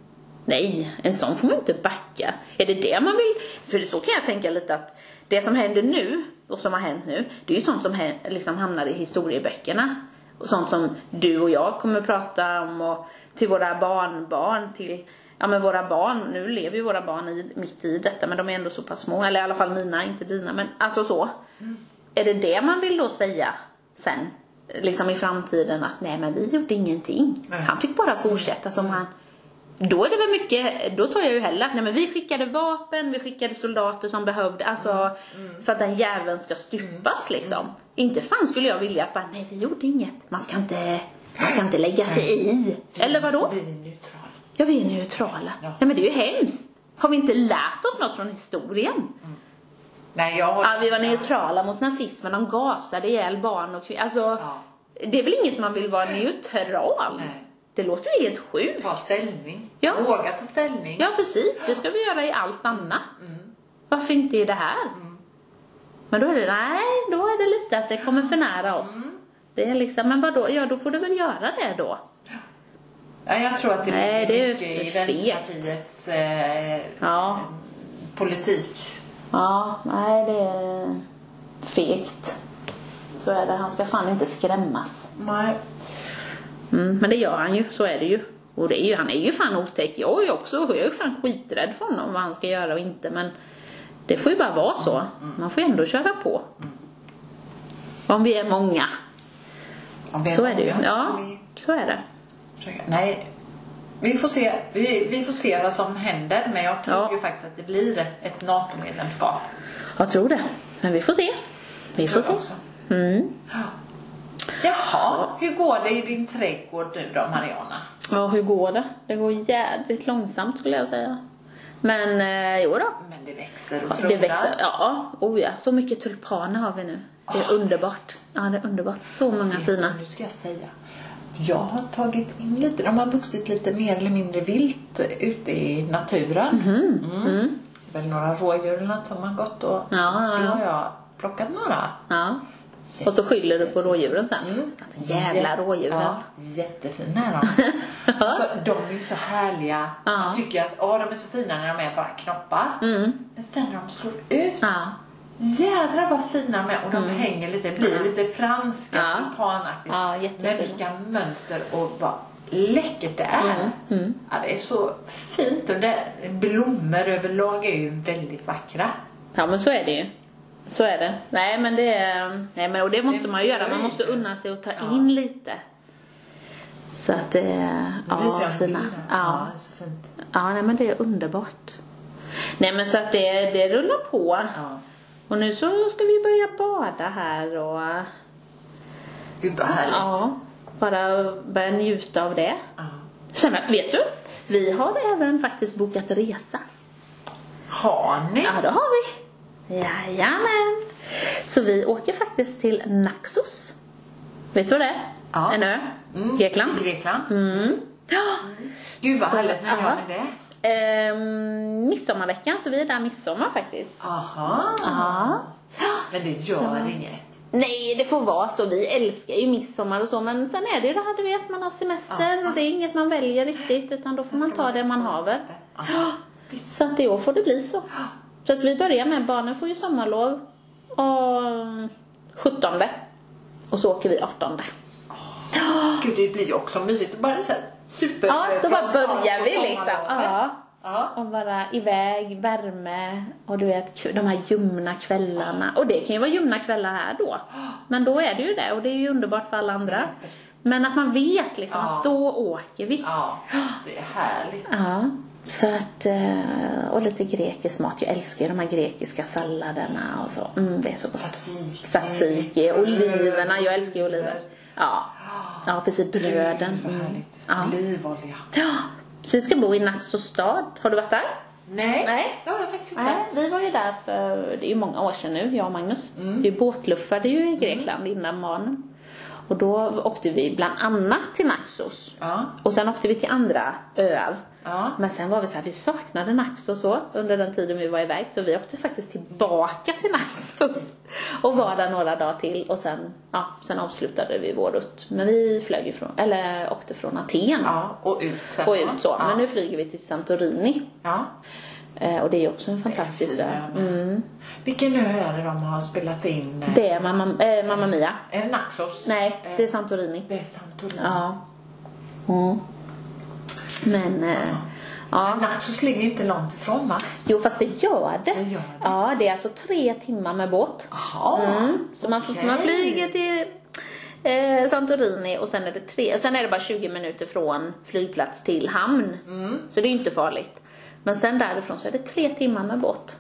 Speaker 1: Nej, en sån får man inte backa. Är det det man vill? För så kan jag tänka lite att det som händer nu och som har hänt nu, det är ju sånt som hä- liksom hamnar i historieböckerna. Och sånt som du och jag kommer prata om och till våra barnbarn, till ja men våra barn, nu lever ju våra barn i, mitt i detta men de är ändå så pass små, eller i alla fall mina, inte dina men alltså så. Är det det man vill då säga sen? Liksom i framtiden att nej men vi gjorde ingenting.
Speaker 2: Nej.
Speaker 1: Han fick bara fortsätta som han. Då är det väl mycket, då tar jag ju hellre att nej men vi skickade vapen, vi skickade soldater som behövde, alltså
Speaker 2: Mm.
Speaker 1: för att den jäveln ska stupas liksom. Inte fan skulle jag vilja att bara, nej vi gjorde inget. Man ska inte, man ska inte lägga sig i. Eller vadå?
Speaker 2: Vi är neutrala.
Speaker 1: Ja, vi är neutrala.
Speaker 2: Ja.
Speaker 1: Nej, men det är ju hemskt. Har vi inte lärt oss något från historien?
Speaker 2: Nej, jag håller
Speaker 1: Ja, vi var
Speaker 2: med.
Speaker 1: neutrala mot nazismen, de gasade ihjäl barn och kvinnor. Alltså,
Speaker 2: Ja.
Speaker 1: det är väl inget man vill vara neutral?
Speaker 2: Nej.
Speaker 1: Det låter ju helt sjukt.
Speaker 2: Ta ställning.
Speaker 1: Ja.
Speaker 2: Våga ta ställning.
Speaker 1: Ja, precis. Det ska vi göra i allt annat.
Speaker 2: Mm.
Speaker 1: Varför inte i det här? Men då är det, nej, då är det lite att det kommer för nära oss.
Speaker 2: Mm.
Speaker 1: Det är liksom, men vadå, ja då får du väl göra det då.
Speaker 2: Ja, jag tror att det
Speaker 1: Nej, det är ju
Speaker 2: ligger mycket i
Speaker 1: för fegt.
Speaker 2: Vänsterpartiets eh,
Speaker 1: Ja.
Speaker 2: politik.
Speaker 1: Ja, nej det är fegt. Så är det, han ska fan inte skrämmas.
Speaker 2: Nej.
Speaker 1: Mm, men det gör han ju, så är det ju. Och det är ju, han är ju fan otäck. Jag är ju också, jag är ju fan skiträdd för honom vad han ska göra och inte. Men det får ju bara vara så. Man får ju ändå köra på. Om vi är många.
Speaker 2: Om vi
Speaker 1: Så är det ju.
Speaker 2: många så
Speaker 1: Ja,
Speaker 2: kan vi
Speaker 1: så är det.
Speaker 2: försöka- Nej. Vi får, se, vi, vi får se vad som händer men jag tror
Speaker 1: Ja.
Speaker 2: ju faktiskt att det blir ett NATO-medlemskap.
Speaker 1: Jag tror det. Men vi får se. Vi får
Speaker 2: Tror jag
Speaker 1: se.
Speaker 2: också.
Speaker 1: Mm.
Speaker 2: Ja. Jaha, hur går det i din trädgård nu då Mariana?
Speaker 1: Ja, hur går det? Det går jädrigt långsamt skulle jag säga. Men eh, jo då.
Speaker 2: Men det växer och
Speaker 1: Ja,
Speaker 2: frodas.
Speaker 1: Det växer, ja. Oh ja. Så mycket tulpaner har vi nu. Det är
Speaker 2: Ah,
Speaker 1: underbart. Ja, det är underbart. Så många
Speaker 2: Vet
Speaker 1: fina.
Speaker 2: du, Nu ska jag säga. att Jag har tagit in lite, de har vuxit lite mer eller mindre vilt ute i naturen. Mm. Väl några rådjur eller något som har gått och
Speaker 1: Mhm, ja, ja.
Speaker 2: då har jag plockat några.
Speaker 1: Ja. Och så skyller du på rådjuren sen.
Speaker 2: Mm.
Speaker 1: Jävla
Speaker 2: Jätte-
Speaker 1: rådjuren.
Speaker 2: Ja, jättefina är de. alltså, de är ju så härliga.
Speaker 1: Ja.
Speaker 2: Man tycker att åh, de är så fina när de är bara knoppar.
Speaker 1: Mm.
Speaker 2: Men sen när de slår ut,
Speaker 1: Ja.
Speaker 2: jädrar vad fina de är. Och de hänger lite, blir
Speaker 1: Mm. Ja.
Speaker 2: lite franska,
Speaker 1: Ja.
Speaker 2: tulpanaktiga.
Speaker 1: Ja,
Speaker 2: Men
Speaker 1: jättefina.
Speaker 2: vilka mönster och vad läckert det är.
Speaker 1: Mm,
Speaker 2: Ja, det är så fint. Och det, blommor överlag är ju väldigt vackra.
Speaker 1: Ja men så är det ju. Så är det. Nej men det är, nej men och det måste
Speaker 2: Det är
Speaker 1: man ju göra. Man
Speaker 2: fröjd.
Speaker 1: måste unna sig och ta
Speaker 2: Ja.
Speaker 1: in lite. Så att det är,
Speaker 2: Nu visar
Speaker 1: ja
Speaker 2: jag en
Speaker 1: fina.
Speaker 2: bild här.
Speaker 1: Ja.
Speaker 2: det är så fint.
Speaker 1: ja nej men det är underbart. Nej men så att det, det rullar på.
Speaker 2: Ja.
Speaker 1: Och nu så ska vi börja bada här och
Speaker 2: Gud vad härligt.
Speaker 1: Ja, bara börja njuta av det.
Speaker 2: Ja.
Speaker 1: Sen, vet du? Vi har även faktiskt bokat resa.
Speaker 2: Har ni?
Speaker 1: Ja, det har vi. Jajamän. Så vi åker faktiskt till Naxos. Vet du vad det är?
Speaker 2: Ja. Mm.
Speaker 1: En ö. Grekland.
Speaker 2: I Grekland.
Speaker 1: Mm. Ja.
Speaker 2: Gud vad
Speaker 1: Så-
Speaker 2: härligt. När gör
Speaker 1: aha.
Speaker 2: ni det?
Speaker 1: Ehm, midsommarveckan, så vi är där midsommar faktiskt.
Speaker 2: Aha.
Speaker 1: Ja.
Speaker 2: Men det gör inget.
Speaker 1: Nej, det får vara så. Vi älskar ju midsommar och så, men sen är det ju det här du vet, man har semester
Speaker 2: Ja.
Speaker 1: och det är inget man väljer riktigt, utan då får man ta det man har väl.
Speaker 2: Ja.
Speaker 1: Så att i år får det bli så. Så att vi börjar med, barnen får ju sommarlov och 17 och så åker vi 18.
Speaker 2: Gud, det blir ju också mysigt. Bara en sån här super...
Speaker 1: Ja, då bara börjar vi
Speaker 2: på
Speaker 1: liksom.
Speaker 2: sommarlovet.
Speaker 1: Ja.
Speaker 2: Ja.
Speaker 1: Och bara iväg, värme och du vet k- de här ljumna kvällarna. Och det kan ju vara ljumna kvällar här då. Men då är det ju det och det är ju underbart för alla andra. Men att man vet liksom
Speaker 2: Ja.
Speaker 1: att då åker vi.
Speaker 2: ja, det är härligt.
Speaker 1: Ja, så att, eh, och lite grekisk mat. Jag älskar ju de här grekiska salladerna och så. Mm, det är så gott.
Speaker 2: Tzatziki.
Speaker 1: Tzatziki, oliverna. Jag älskar ju oliver. Ja, ja precis. Bröden. Mm.
Speaker 2: Vad härligt.
Speaker 1: Ja.
Speaker 2: Olivolja.
Speaker 1: Ja, så vi ska bo i Naxos stad. Har du varit där?
Speaker 2: Nej,
Speaker 1: Nej.
Speaker 2: det har jag faktiskt inte.
Speaker 1: Nej, vi var ju där för, det är ju många år sedan nu, jag och Magnus. Vi båtluffade ju i Grekland innan barnen. Och då åkte vi bland annat till Naxos.
Speaker 2: Ja,
Speaker 1: Och sen åkte vi till andra öar.
Speaker 2: ja.
Speaker 1: Men sen var vi så här, vi saknade Naxos så under den tiden vi var iväg. Så vi åkte faktiskt tillbaka till Naxos. Och var där några dagar till och sen, ja, sen avslutade vi vår rutt. Men vi flög ifrån, eller åkte från Aten.
Speaker 2: ja. Och ut sen.
Speaker 1: Och ut så.
Speaker 2: Ja.
Speaker 1: Men nu flyger vi till Santorini.
Speaker 2: ja.
Speaker 1: Eh, Och det är ju också en fantastisk
Speaker 2: Det är
Speaker 1: ö.
Speaker 2: fina öar. Vilken ö är det de har spelat in? eh,
Speaker 1: Mm. Det är Mamma, eh, Mamma Mia.
Speaker 2: Är det Naxos?
Speaker 1: Nej,
Speaker 2: Eh,
Speaker 1: det är Santorini.
Speaker 2: det är Santorini.
Speaker 1: Ja. Mm. Men, eh, ja.
Speaker 2: Naxos ligger inte långt ifrån va?
Speaker 1: Jo, fast det gör det.
Speaker 2: Det gör det.
Speaker 1: Ja, det är alltså tre timmar med båt.
Speaker 2: Jaha,
Speaker 1: Mm. Så man,
Speaker 2: okej.
Speaker 1: så man flyger till eh, Santorini och sen är, det tre, sen är det bara 20 minuter från flygplats till hamn.
Speaker 2: Mm.
Speaker 1: Så det är ju inte farligt. Men sen därifrån så är det tre timmar med båt.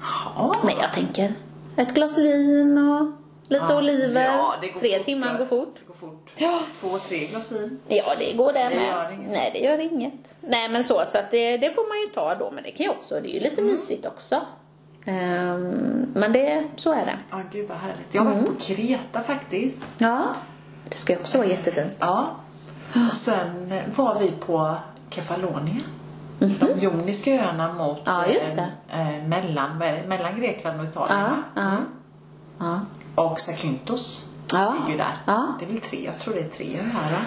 Speaker 2: Jaha.
Speaker 1: Men jag tänker, ett glas vin och lite oliver.
Speaker 2: Ja, det går
Speaker 1: Tre
Speaker 2: fort,
Speaker 1: timmar
Speaker 2: ja.
Speaker 1: går fort.
Speaker 2: Det går fort.
Speaker 1: Ja.
Speaker 2: Två, tre glas vin.
Speaker 1: Ja, det går det,
Speaker 2: Det
Speaker 1: med.
Speaker 2: gör inget.
Speaker 1: Nej, det gör inget. Nej, men så, så att det, det får man ju ta då. Men det kan ju också, det är ju lite
Speaker 2: Mm.
Speaker 1: mysigt också. Ehm, men det, så är det.
Speaker 2: Ja, gud vad härligt. Jag har
Speaker 1: Mm.
Speaker 2: varit på Kreta faktiskt.
Speaker 1: Ja. Det ska ju också vara jättefint.
Speaker 2: Ja. Och sen eh, var vi på Kefalonia. De joniska öarna mot
Speaker 1: Mhm. Ja, just det.
Speaker 2: eh, eh, mellan, vad är det? mellan Grekland och Italien.
Speaker 1: Ja,
Speaker 2: va?
Speaker 1: ja. Ja.
Speaker 2: Och Zakynthos
Speaker 1: Ja.
Speaker 2: ligger där.
Speaker 1: Ja.
Speaker 2: Det är väl tre, jag tror det är tre här va?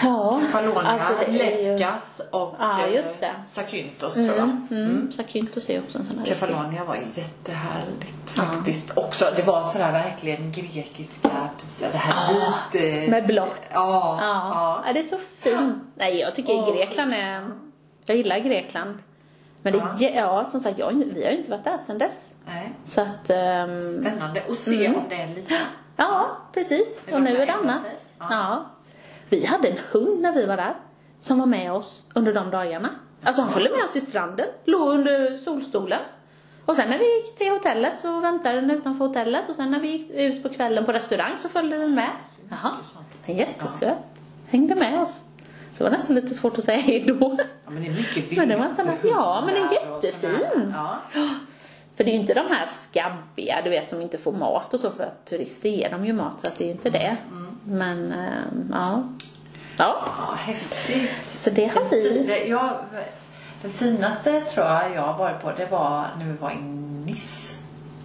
Speaker 1: Ja,
Speaker 2: Kefalonia,
Speaker 1: alltså det är ju...
Speaker 2: Lefkas och
Speaker 1: Ja,
Speaker 2: eh,
Speaker 1: just det.
Speaker 2: Zakynthos tror jag.
Speaker 1: Mm, mm. Zakynthos är ju också en sån här riktig-
Speaker 2: Kefalonia var jättehärligt faktiskt. Också, det var sådär verkligen grekiska byar. Det här lite...
Speaker 1: Med blått.
Speaker 2: Ja,
Speaker 1: Ah. Ja.
Speaker 2: ja.
Speaker 1: ja, det är så fint. Nej, jag tycker
Speaker 2: Åh.
Speaker 1: Grekland är... Jag gillar Grekland. Men det, ja. ja, som sagt, jag, har ju- vi har ju inte varit där sedan dess.
Speaker 2: Nej,
Speaker 1: Så att... ehm,
Speaker 2: spännande. Och se om det är lite...
Speaker 1: Ja, precis.
Speaker 2: Är
Speaker 1: Och
Speaker 2: de
Speaker 1: nu
Speaker 2: med
Speaker 1: är det annat.
Speaker 2: precis?
Speaker 1: Ja.
Speaker 2: Ja.
Speaker 1: Vi hade en hund när vi var där, som var med oss under de dagarna. Alltså han följde med oss till stranden, låg under solstolen. Och sen när vi gick till hotellet så väntade den utanför hotellet och sen när vi gick ut på kvällen på restaurang så följde den med. Jaha, den är jättesöt. Hängde med oss. Så det var nästan lite svårt att säga hej då.
Speaker 2: Ja, men det är mycket
Speaker 1: Men det
Speaker 2: vilt
Speaker 1: var en sån här-
Speaker 2: och hundar
Speaker 1: ja, men den är
Speaker 2: och sån här-
Speaker 1: jättefin.
Speaker 2: Ja.
Speaker 1: För det är ju inte de här skabbiga, du vet, som inte får mat och så, för att turister ger dem ju mat, så att det är ju inte det.
Speaker 2: Mm.
Speaker 1: Men, ehm, ja. Ja,
Speaker 2: ja, häftigt.
Speaker 1: så det har vi.
Speaker 2: Det, jag, det finaste tror jag jag har varit på, det var när vi var i Nice.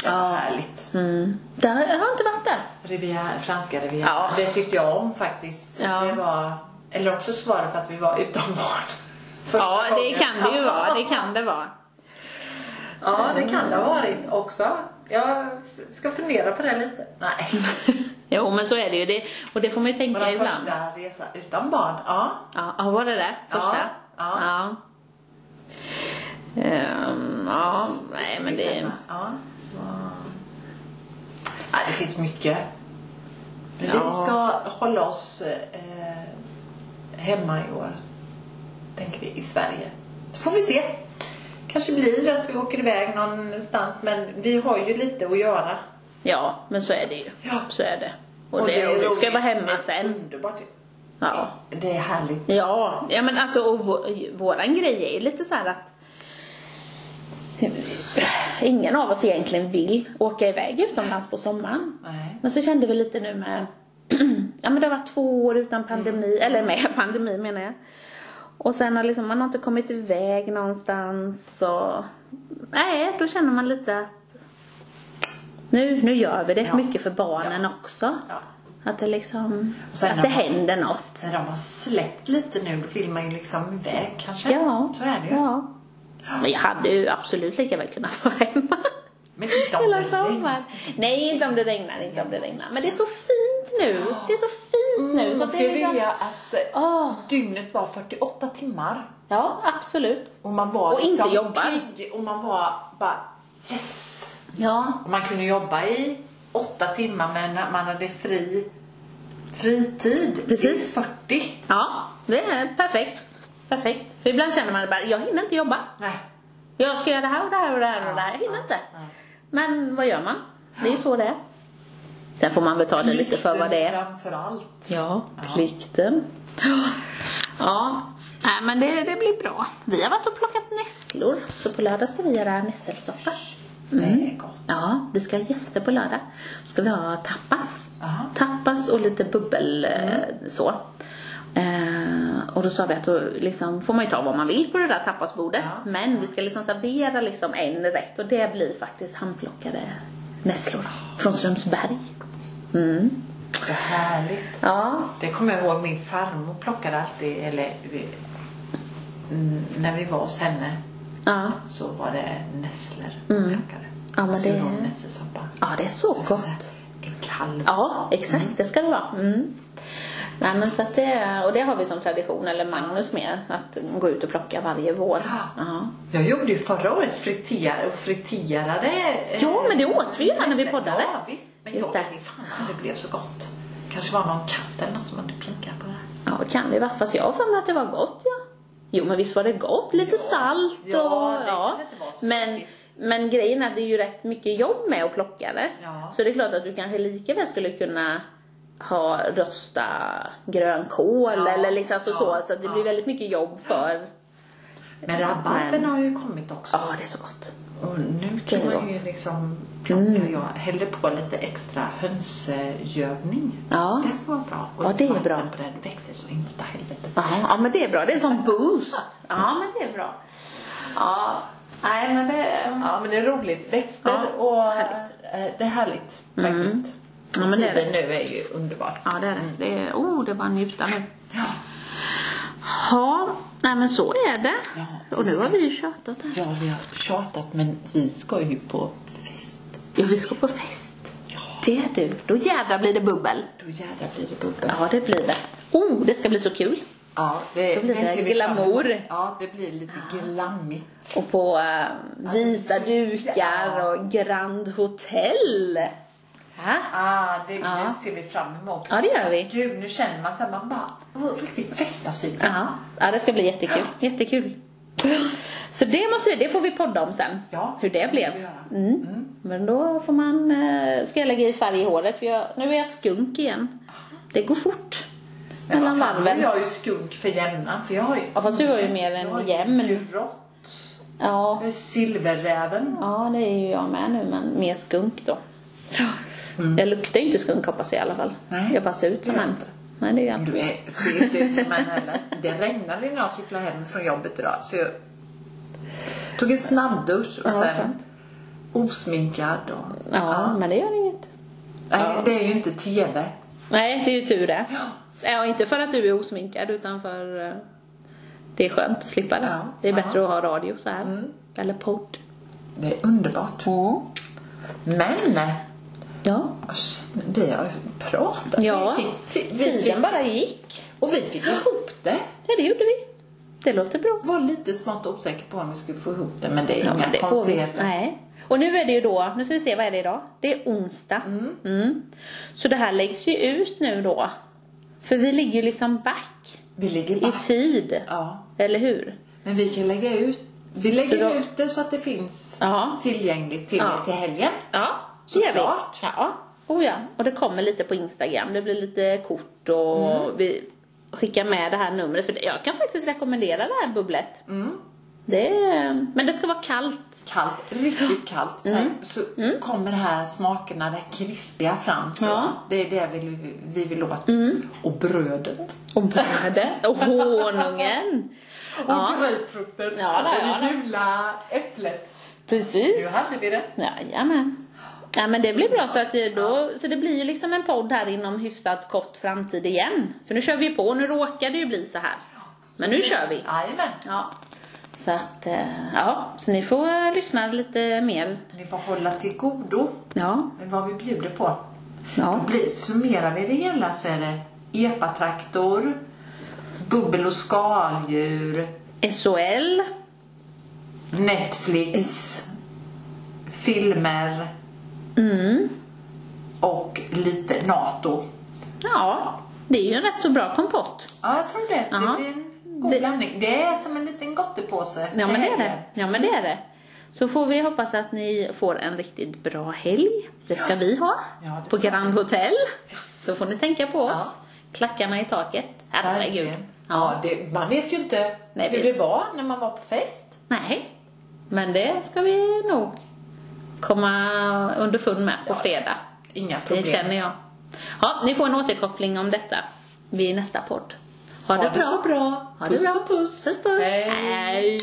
Speaker 2: Det var Härligt.
Speaker 1: Mm. Där, jag har inte varit där.
Speaker 2: Riviera, franska riviera.
Speaker 1: Ja.
Speaker 2: Det tyckte jag om faktiskt.
Speaker 1: Ja.
Speaker 2: Det var, eller också så var det för att vi var utomlands. Första
Speaker 1: Ja, det
Speaker 2: gången.
Speaker 1: kan det ju vara. Det kan det vara.
Speaker 2: Ja, det kan det ha varit också. Jag f- ska fundera på det lite. Nej.
Speaker 1: Jo, men så är det ju. Det, och det får man ju tänka
Speaker 2: Vår
Speaker 1: ibland.
Speaker 2: första resa utan barn. Ja.
Speaker 1: Ja, ja, var det det? Första?
Speaker 2: Ja, ja.
Speaker 1: Ja. Ehm, ja, nej men det...
Speaker 2: Ja. ja. Det finns mycket. Men
Speaker 1: Ja.
Speaker 2: vi ska hålla oss eh, hemma i år. Tänker vi, i Sverige. Så får vi se. Kanske blir det att vi åker iväg någonstans men vi har ju lite att göra.
Speaker 1: Ja, men så är det ju.
Speaker 2: Ja.
Speaker 1: Så är det. Och, det, och vi ska
Speaker 2: roligt.
Speaker 1: vara hemma
Speaker 2: Men
Speaker 1: sen.
Speaker 2: Underbart.
Speaker 1: Ja.
Speaker 2: Det är härligt.
Speaker 1: Ja, ja men alltså och vå- våran grej är ju lite så här att ingen av oss egentligen vill åka iväg utomlands på sommaren.
Speaker 2: Nej.
Speaker 1: Men så kände vi lite nu med, ja men det har varit två år
Speaker 2: Mm.
Speaker 1: utan pandemi, eller med pandemi menar jag. Och sen har liksom, man har inte kommit iväg någonstans och, nej då känner man lite att nu, nu gör vi det,
Speaker 2: Ja.
Speaker 1: mycket för barnen också.
Speaker 2: Ja.
Speaker 1: Att det liksom,
Speaker 2: Och sen
Speaker 1: att
Speaker 2: har
Speaker 1: det
Speaker 2: man-
Speaker 1: händer något.
Speaker 2: Sen de har släppt lite nu, då vill man ju liksom iväg kanske.
Speaker 1: Ja.
Speaker 2: Så är det ju.
Speaker 1: Ja. Men jag hade ju absolut lika väl kunnat vara hemma.
Speaker 2: Men inte om
Speaker 1: Hela
Speaker 2: det regnar.
Speaker 1: sommaren. Nej, inte om det regnar, inte om det regnar. Men det är så fint nu. Det är så fint nu.
Speaker 2: Mm,
Speaker 1: så
Speaker 2: man
Speaker 1: att det
Speaker 2: skulle
Speaker 1: är liksom-
Speaker 2: vilja att eh,
Speaker 1: Åh,
Speaker 2: dygnet var 48 timmar.
Speaker 1: ja, absolut.
Speaker 2: Och man var
Speaker 1: Och inte
Speaker 2: liksom
Speaker 1: jobbar.
Speaker 2: pigg och man var bara yes!
Speaker 1: Ja,
Speaker 2: Och man kunde jobba i åtta timmar men när man hade fri fritid
Speaker 1: Precis.
Speaker 2: i 40.
Speaker 1: ja det är perfekt. Perfekt. För ibland känner man bara, jag hinner inte jobba.
Speaker 2: Nej.
Speaker 1: Jag ska göra det här och det här och det här och det här. Jag hinner
Speaker 2: Ja,
Speaker 1: inte.
Speaker 2: ja, ja.
Speaker 1: Men vad gör man? Det är ju så det är. Sen får man väl ta det lite för vad det är.
Speaker 2: framför allt.
Speaker 1: Ja,
Speaker 2: Ja.
Speaker 1: plikten. Ja, nej men det, det blir bra. Vi har varit och plockat nässlor, så på lördag ska vi göra nässelsoppa.
Speaker 2: Det
Speaker 1: Mm.
Speaker 2: är gott.
Speaker 1: Ja, vi ska ha gäster på lördag. Ska vi ha tapas.
Speaker 2: Aha.
Speaker 1: Tapas och lite bubbel eh, så. Eh, och då sa vi att då liksom, får man ju ta vad man vill på det där tapasbordet.
Speaker 2: Ja.
Speaker 1: Men vi ska liksom servera liksom en rätt och det blir faktiskt handplockade nässlor från Strömsberg. Mm.
Speaker 2: Det är härligt.
Speaker 1: Ja,
Speaker 2: Det kommer jag ihåg min farmor plockade alltid, eller vi, mm, när vi var hos henne
Speaker 1: ja.
Speaker 2: så var det nässlor
Speaker 1: Mm.
Speaker 2: hon plockade.
Speaker 1: Ja, men
Speaker 2: så
Speaker 1: det-
Speaker 2: gjorde hon nässelsoppa.
Speaker 1: ja, det är så
Speaker 2: Så här,
Speaker 1: gott.
Speaker 2: En kalv.
Speaker 1: Ja, exakt. Det ska det vara. Mm. Nej, men så att det, och det har vi som tradition, eller Magnus med, att gå ut och plocka varje vår.
Speaker 2: Ja.
Speaker 1: Ja.
Speaker 2: Jag gjorde ju förra året friter, och friterade. eh,
Speaker 1: Jo, men det åt vi ju här när vi
Speaker 2: nässlor.
Speaker 1: poddade.
Speaker 2: Ja, visst. Men
Speaker 1: Just
Speaker 2: jag
Speaker 1: det.
Speaker 2: vet inte fan om det blev så gott. Kanske var någon katt eller något som hade pinkat på det. här.
Speaker 1: Ja, det kan det vara. Fast jag har för mig att det var gott, ja. Jo, men visst var det gott? Lite
Speaker 2: Ja.
Speaker 1: salt och...
Speaker 2: Ja, det kanske inte var så
Speaker 1: men,
Speaker 2: mycket.
Speaker 1: men grejen är att det är ju rätt mycket jobb med att plocka det.
Speaker 2: Ja.
Speaker 1: Så det är klart att du kanske lika väl skulle kunna ha rösta grönkål
Speaker 2: Ja,
Speaker 1: eller liksom så,
Speaker 2: ja,
Speaker 1: så. Så att det
Speaker 2: ja.
Speaker 1: blir väldigt mycket jobb för...
Speaker 2: Men rabarberna
Speaker 1: Men-
Speaker 2: har ju kommit också.
Speaker 1: Ja, det är så gott.
Speaker 2: Och nu
Speaker 1: Det är
Speaker 2: kan man ju
Speaker 1: gott. Mm.
Speaker 2: liksom plocka. Jag häller på lite extra hönsgövning.
Speaker 1: Ja.
Speaker 2: Det ska vara bra. Och
Speaker 1: Ja, det är bra.
Speaker 2: marken på den växer så in åtta helvete.
Speaker 1: Jaha, ja men det är bra. Det är en sån boost. Ja, men det är bra. Ja, nej men det...
Speaker 2: Ja, men det är roligt. Växter
Speaker 1: Ja,
Speaker 2: och eh, det är härligt faktiskt.
Speaker 1: Ja, men det är det.
Speaker 2: Tiden nu är ju underbart.
Speaker 1: Ja, det är det. det är, oh, det är bara att njuta nu.
Speaker 2: Ja.
Speaker 1: Ja, nej men så är det.
Speaker 2: Ja,
Speaker 1: och nu har vi ju tjatat här.
Speaker 2: ja, vi har tjatat men vi ska ju på fest.
Speaker 1: Ja, vi ska på fest.
Speaker 2: Ja.
Speaker 1: Det är du. Då jädrar blir det bubbel.
Speaker 2: Då jädrar blir det bubbel.
Speaker 1: Ja, det blir det. Oh, det ska bli så kul.
Speaker 2: Ja, det,
Speaker 1: Då blir det
Speaker 2: ser vi fram emot. Ah.
Speaker 1: glamour.
Speaker 2: Ja, det blir lite glammigt.
Speaker 1: Och på eh,
Speaker 2: Alltså,
Speaker 1: vita
Speaker 2: det är så-
Speaker 1: dukar
Speaker 2: ja.
Speaker 1: och Grand Hotel. Ja,
Speaker 2: Ah, det,
Speaker 1: Ja.
Speaker 2: det ser vi fram emot.
Speaker 1: ja det gör vi.
Speaker 2: Gud, nu känner man sig man bara, oh, riktigt festavslutning.
Speaker 1: Ja, ja, det ska bli jättekul. Jättekul. Så det, måste, vi- det får vi podda om sen,
Speaker 2: Ja,
Speaker 1: hur det
Speaker 2: det
Speaker 1: blev.
Speaker 2: får vi göra.
Speaker 1: Mm. Men då får man, eh, ska jag lägga i färg i håret, för jag, nu är jag skunk igen. Det går fort.
Speaker 2: Men
Speaker 1: Mellan
Speaker 2: vad fan,
Speaker 1: varven.
Speaker 2: Jag är ju skunk för jämnan, för jag har ju...
Speaker 1: Ja, fast du har ju mer
Speaker 2: Jag har
Speaker 1: en
Speaker 2: ju
Speaker 1: jämn.
Speaker 2: grått.
Speaker 1: Ja,
Speaker 2: Jag är silverräven.
Speaker 1: ja, det är ju jag med nu, men mer skunk då. Ja. Jag luktar ju inte skunk hoppas jag i alla fall.
Speaker 2: Mm. Nej,
Speaker 1: jag bara ser ut som
Speaker 2: det gör
Speaker 1: en.
Speaker 2: inte.
Speaker 1: Nej, det gör jag inte.
Speaker 2: Du är, ser inte ut som en heller. Det regnade när jag cyklade hem från jobbet idag. Så jag tog en snabbdusch
Speaker 1: Ja,
Speaker 2: och sen
Speaker 1: skönt.
Speaker 2: osminkad. Och,
Speaker 1: Ja, men det gör inget.
Speaker 2: Nej, det är ju inte TV.
Speaker 1: Nej, det är ju tur det.
Speaker 2: Ja.
Speaker 1: Ja, inte för att du är osminkad utan för eh, det är skönt att slippa det.
Speaker 2: Ja,
Speaker 1: Det är
Speaker 2: ja.
Speaker 1: bättre att ha radio så här. Eller podd.
Speaker 2: Det är underbart. Men!
Speaker 1: Ja.
Speaker 2: Vi har ju pratat.
Speaker 1: Ja,
Speaker 2: Vi fick, vi fick,
Speaker 1: tiden bara gick.
Speaker 2: och vi fick ihop det.
Speaker 1: Ja, det gjorde vi. Det låter bra.
Speaker 2: Var lite smått osäker på om vi skulle få ihop det, men det är
Speaker 1: Ja,
Speaker 2: inga
Speaker 1: men det får vi.
Speaker 2: konstigheter.
Speaker 1: Nej. Och nu är det ju då, nu ska vi se, vad är det idag? Det är onsdag. Mm. Så det här läggs ju ut nu då. För vi ligger ju liksom back
Speaker 2: Vi ligger
Speaker 1: i
Speaker 2: bara...
Speaker 1: tid.
Speaker 2: Ja,
Speaker 1: Eller hur?
Speaker 2: men vi kan lägga ut... Vi
Speaker 1: Så
Speaker 2: lägger
Speaker 1: då-
Speaker 2: ut det så att det finns
Speaker 1: Ja.
Speaker 2: tillgängligt till,
Speaker 1: Ja.
Speaker 2: till helgen.
Speaker 1: Ja, det gör vi.
Speaker 2: Såklart.
Speaker 1: Ja. Oh ja, och det kommer lite på Instagram. Det blir lite kort och vi skickar med det här numret. För jag kan faktiskt rekommendera det här bubblet. Det är, men det ska vara kallt.
Speaker 2: Kallt, riktigt kallt. Sen
Speaker 1: Mm.
Speaker 2: så kommer de här smakerna, det här krispiga fram. tror
Speaker 1: Ja. Mm.
Speaker 2: jag. Det är det vi, vill- vi vill åt. Och brödet.
Speaker 1: Och brödet och honungen. Ja,
Speaker 2: grapefrukten.
Speaker 1: Ja, det är det.
Speaker 2: gula äpplet. Nu
Speaker 1: precis.
Speaker 2: hade vi det.
Speaker 1: Jajamän. Ja, men det blir bra så att det då, så det blir ju liksom en podd här inom hyfsat kort framtid igen. För nu kör vi på, nu råkar det ju bli så här. Men nu kör vi.
Speaker 2: Jajamän.
Speaker 1: Ja. Så att, eh, ja, så ni får eh, lyssna lite mer.
Speaker 2: Ni får hålla till godo
Speaker 1: Ja,
Speaker 2: med vad vi bjuder på.
Speaker 1: ja.
Speaker 2: Då blir, summerar vi det hela så är det epatraktor, bubbel och skaldjur,
Speaker 1: SOL.
Speaker 2: Netflix, filmer
Speaker 1: Mm.
Speaker 2: och lite NATO.
Speaker 1: Ja, det är ju en rätt så bra kompott.
Speaker 2: Ja, jag tror det.
Speaker 1: Jaha.
Speaker 2: Det blir en god
Speaker 1: Det-
Speaker 2: blandning. Det är som en liten gottepåse.
Speaker 1: Ja, men det är det. Ja, men det är det. Så får vi hoppas att ni får en riktigt bra helg. Det ska vi ha.
Speaker 2: Ja, det
Speaker 1: på
Speaker 2: ska
Speaker 1: Grand Hotel.
Speaker 2: Yes.
Speaker 1: Så får ni tänka på oss. Klackarna i taket. Herregud.
Speaker 2: Verkligen.
Speaker 1: Ja.
Speaker 2: Ja, det, man vet ju inte
Speaker 1: Nej,
Speaker 2: hur
Speaker 1: visst.
Speaker 2: det var när man var på fest.
Speaker 1: Nej, men det ska vi nog komma underfund med på fredag.
Speaker 2: Inga
Speaker 1: Det
Speaker 2: problem.
Speaker 1: känner jag. Ja, ni får en återkoppling om detta vid nästa podd. Ha,
Speaker 2: Ha det så bra.
Speaker 1: Ha det
Speaker 2: Puss
Speaker 1: bra.
Speaker 2: och puss.
Speaker 1: Puss, puss.
Speaker 2: Hej.
Speaker 1: Hej.